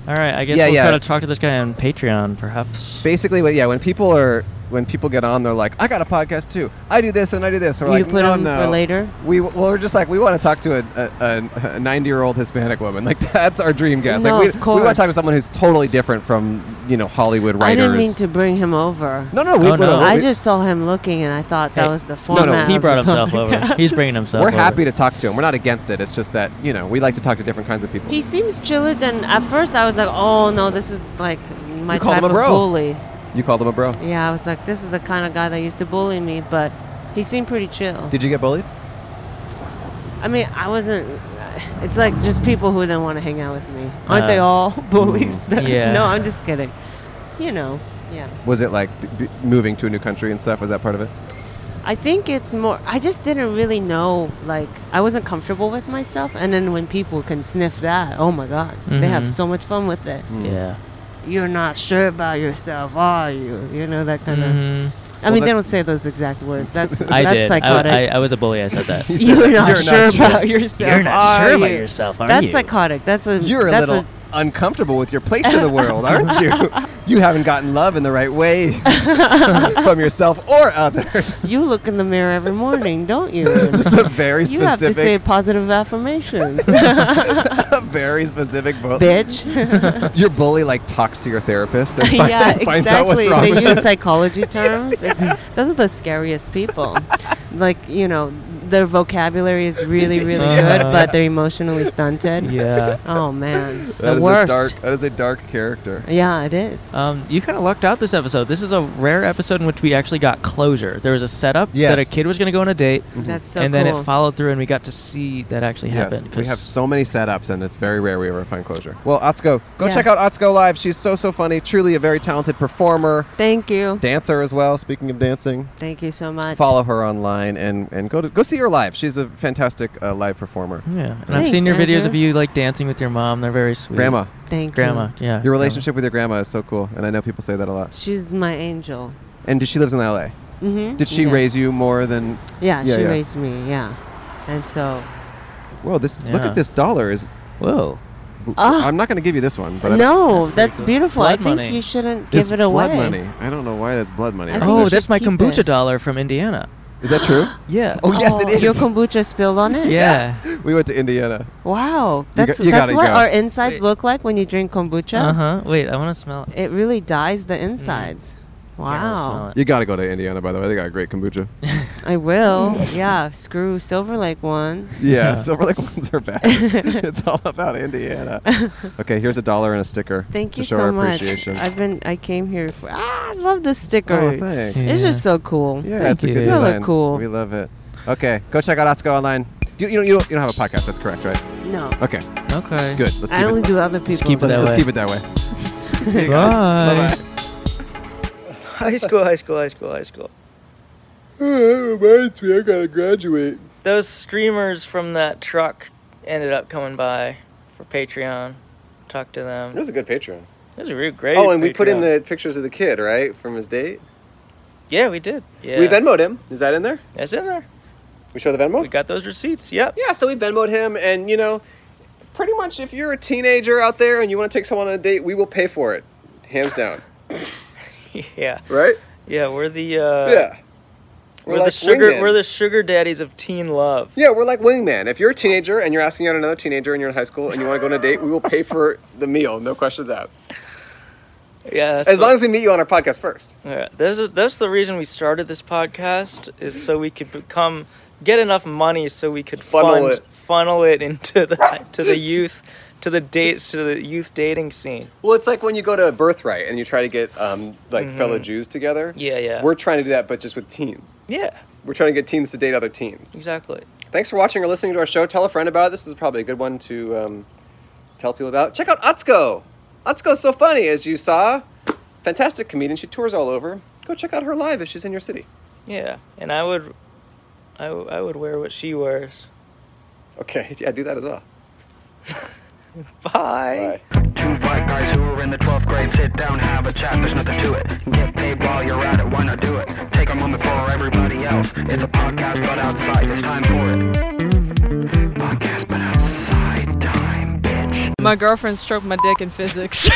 Speaker 1: All right, I guess
Speaker 2: Yeah,
Speaker 1: we'll
Speaker 2: yeah.
Speaker 1: try to talk to this guy on Patreon, perhaps.
Speaker 2: Basically, when- yeah, when people are when people get on, they're like, "I got a podcast too. I do this and I do this." And
Speaker 8: You
Speaker 2: we're like,
Speaker 8: put
Speaker 2: "No,
Speaker 8: him
Speaker 2: no."
Speaker 8: for later.
Speaker 2: We well, we're just like we want to talk to a- a, a, a ninety-year-old Hispanic woman. Like that's our dream guest.
Speaker 8: No,
Speaker 2: like we,
Speaker 8: of
Speaker 2: we want
Speaker 8: course.
Speaker 2: to talk to someone who's totally different from you know Hollywood writers.
Speaker 8: I didn't mean to bring him over.
Speaker 2: No, no, we,
Speaker 1: Oh, no.
Speaker 2: we-
Speaker 8: I just saw him looking, and I thought that
Speaker 1: Hey,
Speaker 8: was the
Speaker 1: no,
Speaker 8: format.
Speaker 1: he
Speaker 8: of
Speaker 1: brought
Speaker 8: the
Speaker 1: himself over.
Speaker 8: podcast.
Speaker 1: He's bringing himself.
Speaker 2: we're
Speaker 1: over.
Speaker 2: happy to talk to him. We're not against it. It's just that you know we like to talk to different kinds of people.
Speaker 8: He seems chiller than at first. I was like, oh no, this is like my
Speaker 2: You called
Speaker 8: type
Speaker 2: him a
Speaker 8: of
Speaker 2: bro.
Speaker 8: bully.
Speaker 2: you call them a bro.
Speaker 8: Yeah, I was like, this is the kind of guy that used to bully me, but he seemed pretty chill.
Speaker 2: Did you get bullied?
Speaker 8: I mean, I wasn't. It's like just people who didn't want to hang out with me. Aren't
Speaker 1: Uh,
Speaker 8: they all bullies?
Speaker 1: yeah.
Speaker 8: no, I'm just kidding. You know. Yeah.
Speaker 2: Was it like b- b- moving to a new country and stuff? Was that part of it?
Speaker 8: I think it's more. I just didn't really know. Like, I wasn't comfortable with myself. And then when people can sniff that, oh my God, they have
Speaker 1: Mhm.
Speaker 8: so much fun with it.
Speaker 1: Yeah.
Speaker 8: You're not sure about yourself, are you? You know that kind of.
Speaker 1: hmm
Speaker 8: I mean,
Speaker 2: that-
Speaker 8: they don't say those exact words. That's
Speaker 1: I
Speaker 8: that's
Speaker 1: did.
Speaker 8: psychotic.
Speaker 1: I, I, I was a bully. I said that.
Speaker 2: He said
Speaker 8: you're,
Speaker 2: that,
Speaker 8: not sure
Speaker 2: sure.
Speaker 8: about yourself.
Speaker 1: You're not
Speaker 8: are
Speaker 1: sure about
Speaker 8: you?"
Speaker 1: yourself, are
Speaker 8: That's
Speaker 1: you?
Speaker 8: psychotic. That's a.
Speaker 2: You're a
Speaker 8: that's
Speaker 2: little uncomfortable with your place in the world, aren't you? You haven't gotten love in the right way from yourself or others.
Speaker 8: You look in the mirror every morning, don't you?
Speaker 2: Just a very
Speaker 8: You have to say
Speaker 2: specific,
Speaker 8: positive affirmations,
Speaker 2: a very specific bully.
Speaker 8: bitch.
Speaker 2: Your bully like talks to your therapist and find-
Speaker 8: yeah,
Speaker 2: finds out what's
Speaker 8: exactly.
Speaker 2: wrong.
Speaker 8: They
Speaker 2: with
Speaker 8: use psychology terms. It's, those are the scariest people. like you know, their vocabulary is really, really good,
Speaker 1: Uh-huh.
Speaker 8: but they're emotionally stunted.
Speaker 1: yeah.
Speaker 8: Oh man,
Speaker 2: That
Speaker 8: the
Speaker 2: is
Speaker 8: worst.
Speaker 2: A dark, that is a dark character.
Speaker 8: yeah, it is.
Speaker 1: Um, you kind of lucked out this episode. This is a rare episode in which we actually got closure. There was a setup
Speaker 2: Yes.
Speaker 1: that a kid was going to go on a date,
Speaker 8: That's so
Speaker 1: and
Speaker 8: cool.
Speaker 1: then it followed through, and we got to see that actually
Speaker 2: Yes,
Speaker 1: happen.
Speaker 2: we
Speaker 1: 'cause-
Speaker 2: have so many setups, and it's very rare we ever find closure. Well, Atsuko, go
Speaker 8: Yeah.
Speaker 2: check out Atsuko live. She's so so funny. Truly a very talented performer,
Speaker 8: Thank you.
Speaker 2: dancer as well. Speaking of dancing,
Speaker 8: Thank you so much.
Speaker 2: follow her online and and go to go see her live. She's a fantastic uh, live performer.
Speaker 1: yeah, and I've
Speaker 8: Thanks,
Speaker 1: seen your videos
Speaker 8: Andrew.
Speaker 1: of you like dancing with your mom. They're very sweet.
Speaker 2: Grandma,
Speaker 8: Thank
Speaker 1: grandma.
Speaker 8: you.
Speaker 1: Yeah,
Speaker 2: your
Speaker 1: grandma.
Speaker 2: relationship with your grandma is so cool, and I know people say that a lot.
Speaker 8: She's my angel.
Speaker 2: And she lives in L.A.
Speaker 8: Mhm.
Speaker 2: Did she
Speaker 8: Yeah.
Speaker 2: raise you more than?
Speaker 8: Yeah,
Speaker 2: Yeah,
Speaker 8: she
Speaker 2: yeah.
Speaker 8: raised me. Yeah, and so
Speaker 2: Whoa! This look
Speaker 1: Yeah.
Speaker 2: at this dollar is.
Speaker 1: Whoa.
Speaker 8: Ah.
Speaker 2: I'm not going to give you this one, but I-
Speaker 8: no, that's, beautiful. I
Speaker 1: Blood
Speaker 8: think
Speaker 1: money.
Speaker 8: you shouldn't
Speaker 2: it's
Speaker 8: give it away.
Speaker 2: Blood money. I don't know why that's blood money.
Speaker 8: I
Speaker 2: I
Speaker 8: think
Speaker 2: don't
Speaker 8: you
Speaker 1: Oh,
Speaker 8: should
Speaker 2: know.
Speaker 1: that's my
Speaker 8: keep
Speaker 1: kombucha
Speaker 8: it.
Speaker 1: dollar from Indiana.
Speaker 2: is that true?
Speaker 1: Yeah.
Speaker 2: Oh yes, it is.
Speaker 8: Your kombucha spilled on it.
Speaker 1: Yeah.
Speaker 2: we went to Indiana.
Speaker 8: Wow,
Speaker 2: You
Speaker 8: that's
Speaker 2: got- you
Speaker 8: that's
Speaker 2: gotta
Speaker 8: what
Speaker 2: go.
Speaker 8: our insides
Speaker 1: Wait.
Speaker 8: look like when you drink kombucha.
Speaker 1: Uh huh. Wait, I want to smell it.
Speaker 8: It really dyes the insides.
Speaker 1: I wanna
Speaker 8: Wow.
Speaker 1: Mm-hmm. smell it.
Speaker 2: You got to go to Indiana, by the way. They got great kombucha.
Speaker 8: I will. yeah, screw Silver Lake one.
Speaker 2: Yeah, Silver Lake ones are bad. it's all about Indiana. Okay, here's a dollar and a sticker.
Speaker 8: Thank you
Speaker 2: to show
Speaker 8: so
Speaker 2: our
Speaker 8: much.
Speaker 2: Appreciation.
Speaker 8: I've been I came here for ah, I love this sticker.
Speaker 2: oh, thanks.
Speaker 1: Yeah.
Speaker 8: It's just so cool.
Speaker 2: Yeah,
Speaker 1: Thank
Speaker 2: it's a
Speaker 1: you.
Speaker 2: good
Speaker 8: Y'all are
Speaker 2: design.
Speaker 8: cool.
Speaker 2: We love it. Okay, go check out Atsuko online. Do you, you, don't, you, don't, you don't have a podcast? That's correct, right?
Speaker 8: No.
Speaker 2: Okay,
Speaker 1: Okay.
Speaker 2: good. Let's keep
Speaker 8: I
Speaker 2: it.
Speaker 8: only do other people's.
Speaker 1: Just keep it
Speaker 2: let's
Speaker 1: that
Speaker 2: let's
Speaker 1: way.
Speaker 2: keep it that way. See you guys.
Speaker 1: Bye.
Speaker 2: Bye-bye.
Speaker 1: high school, high school, high school, high school.
Speaker 11: reminds me, I gotta graduate.
Speaker 1: Those streamers from that truck ended up coming by for Patreon. Talk to them.
Speaker 2: It was a good Patreon.
Speaker 1: It was a real great.
Speaker 2: Oh, and we put in
Speaker 1: Patreon.
Speaker 2: the pictures of the kid, right, from his date.
Speaker 1: Yeah, we did. Yeah.
Speaker 2: We Venmoed him. Is that in there?
Speaker 1: That's in there.
Speaker 2: We show the Venmo.
Speaker 1: We got those receipts. Yep.
Speaker 2: Yeah, so we Venmoed him, and you know, pretty much if you're a teenager out there and you want to take someone on a date, we will pay for it, hands down.
Speaker 1: Yeah.
Speaker 2: right?
Speaker 1: Yeah. We're the. Uh,
Speaker 2: yeah.
Speaker 1: We're, the sugar.
Speaker 2: wingmen.
Speaker 1: We're the sugar daddies of teen love.
Speaker 2: Yeah, we're like wingman. If you're a teenager and you're asking out another teenager and you're in high school and you want to go on a date, we will pay for the meal, no questions asked.
Speaker 1: Yeah. That's
Speaker 2: As
Speaker 1: what-
Speaker 2: long as we meet you on our podcast first.
Speaker 1: Yeah, that's, that's the reason we started this podcast is so we could become get enough money so we could
Speaker 2: Funnel
Speaker 1: fund,
Speaker 2: it.
Speaker 1: funnel it into the to the youth to the dates to the youth dating scene.
Speaker 2: Well, it's like when you go to Birthright and you try to get um, like fellow Jews together.
Speaker 1: Yeah, yeah.
Speaker 2: We're trying to do that, but just with teens.
Speaker 1: Yeah,
Speaker 2: We're trying to get teens to date other teens.
Speaker 1: exactly.
Speaker 2: Thanks for watching or listening to our show. Tell a friend about it. This is probably a good one to um, tell people about. Check out Atsuko. Atsuko's so funny, as you saw. Fantastic comedian. She tours all over. Go check out her live if she's in your city.
Speaker 1: Yeah, and I would, I, w- I would wear what she wears.
Speaker 2: Okay, yeah, do that as well.
Speaker 1: Bye.
Speaker 2: Bye.
Speaker 12: Two black guys who are in the 12th grade sit down, have a chat, there's nothing to it. Get paid while you're at it, why not do it? Take a moment for everybody else. It's a podcast, but outside, it's time for it. Podcast, but outside time, bitch.
Speaker 6: My girlfriend stroked my dick in physics.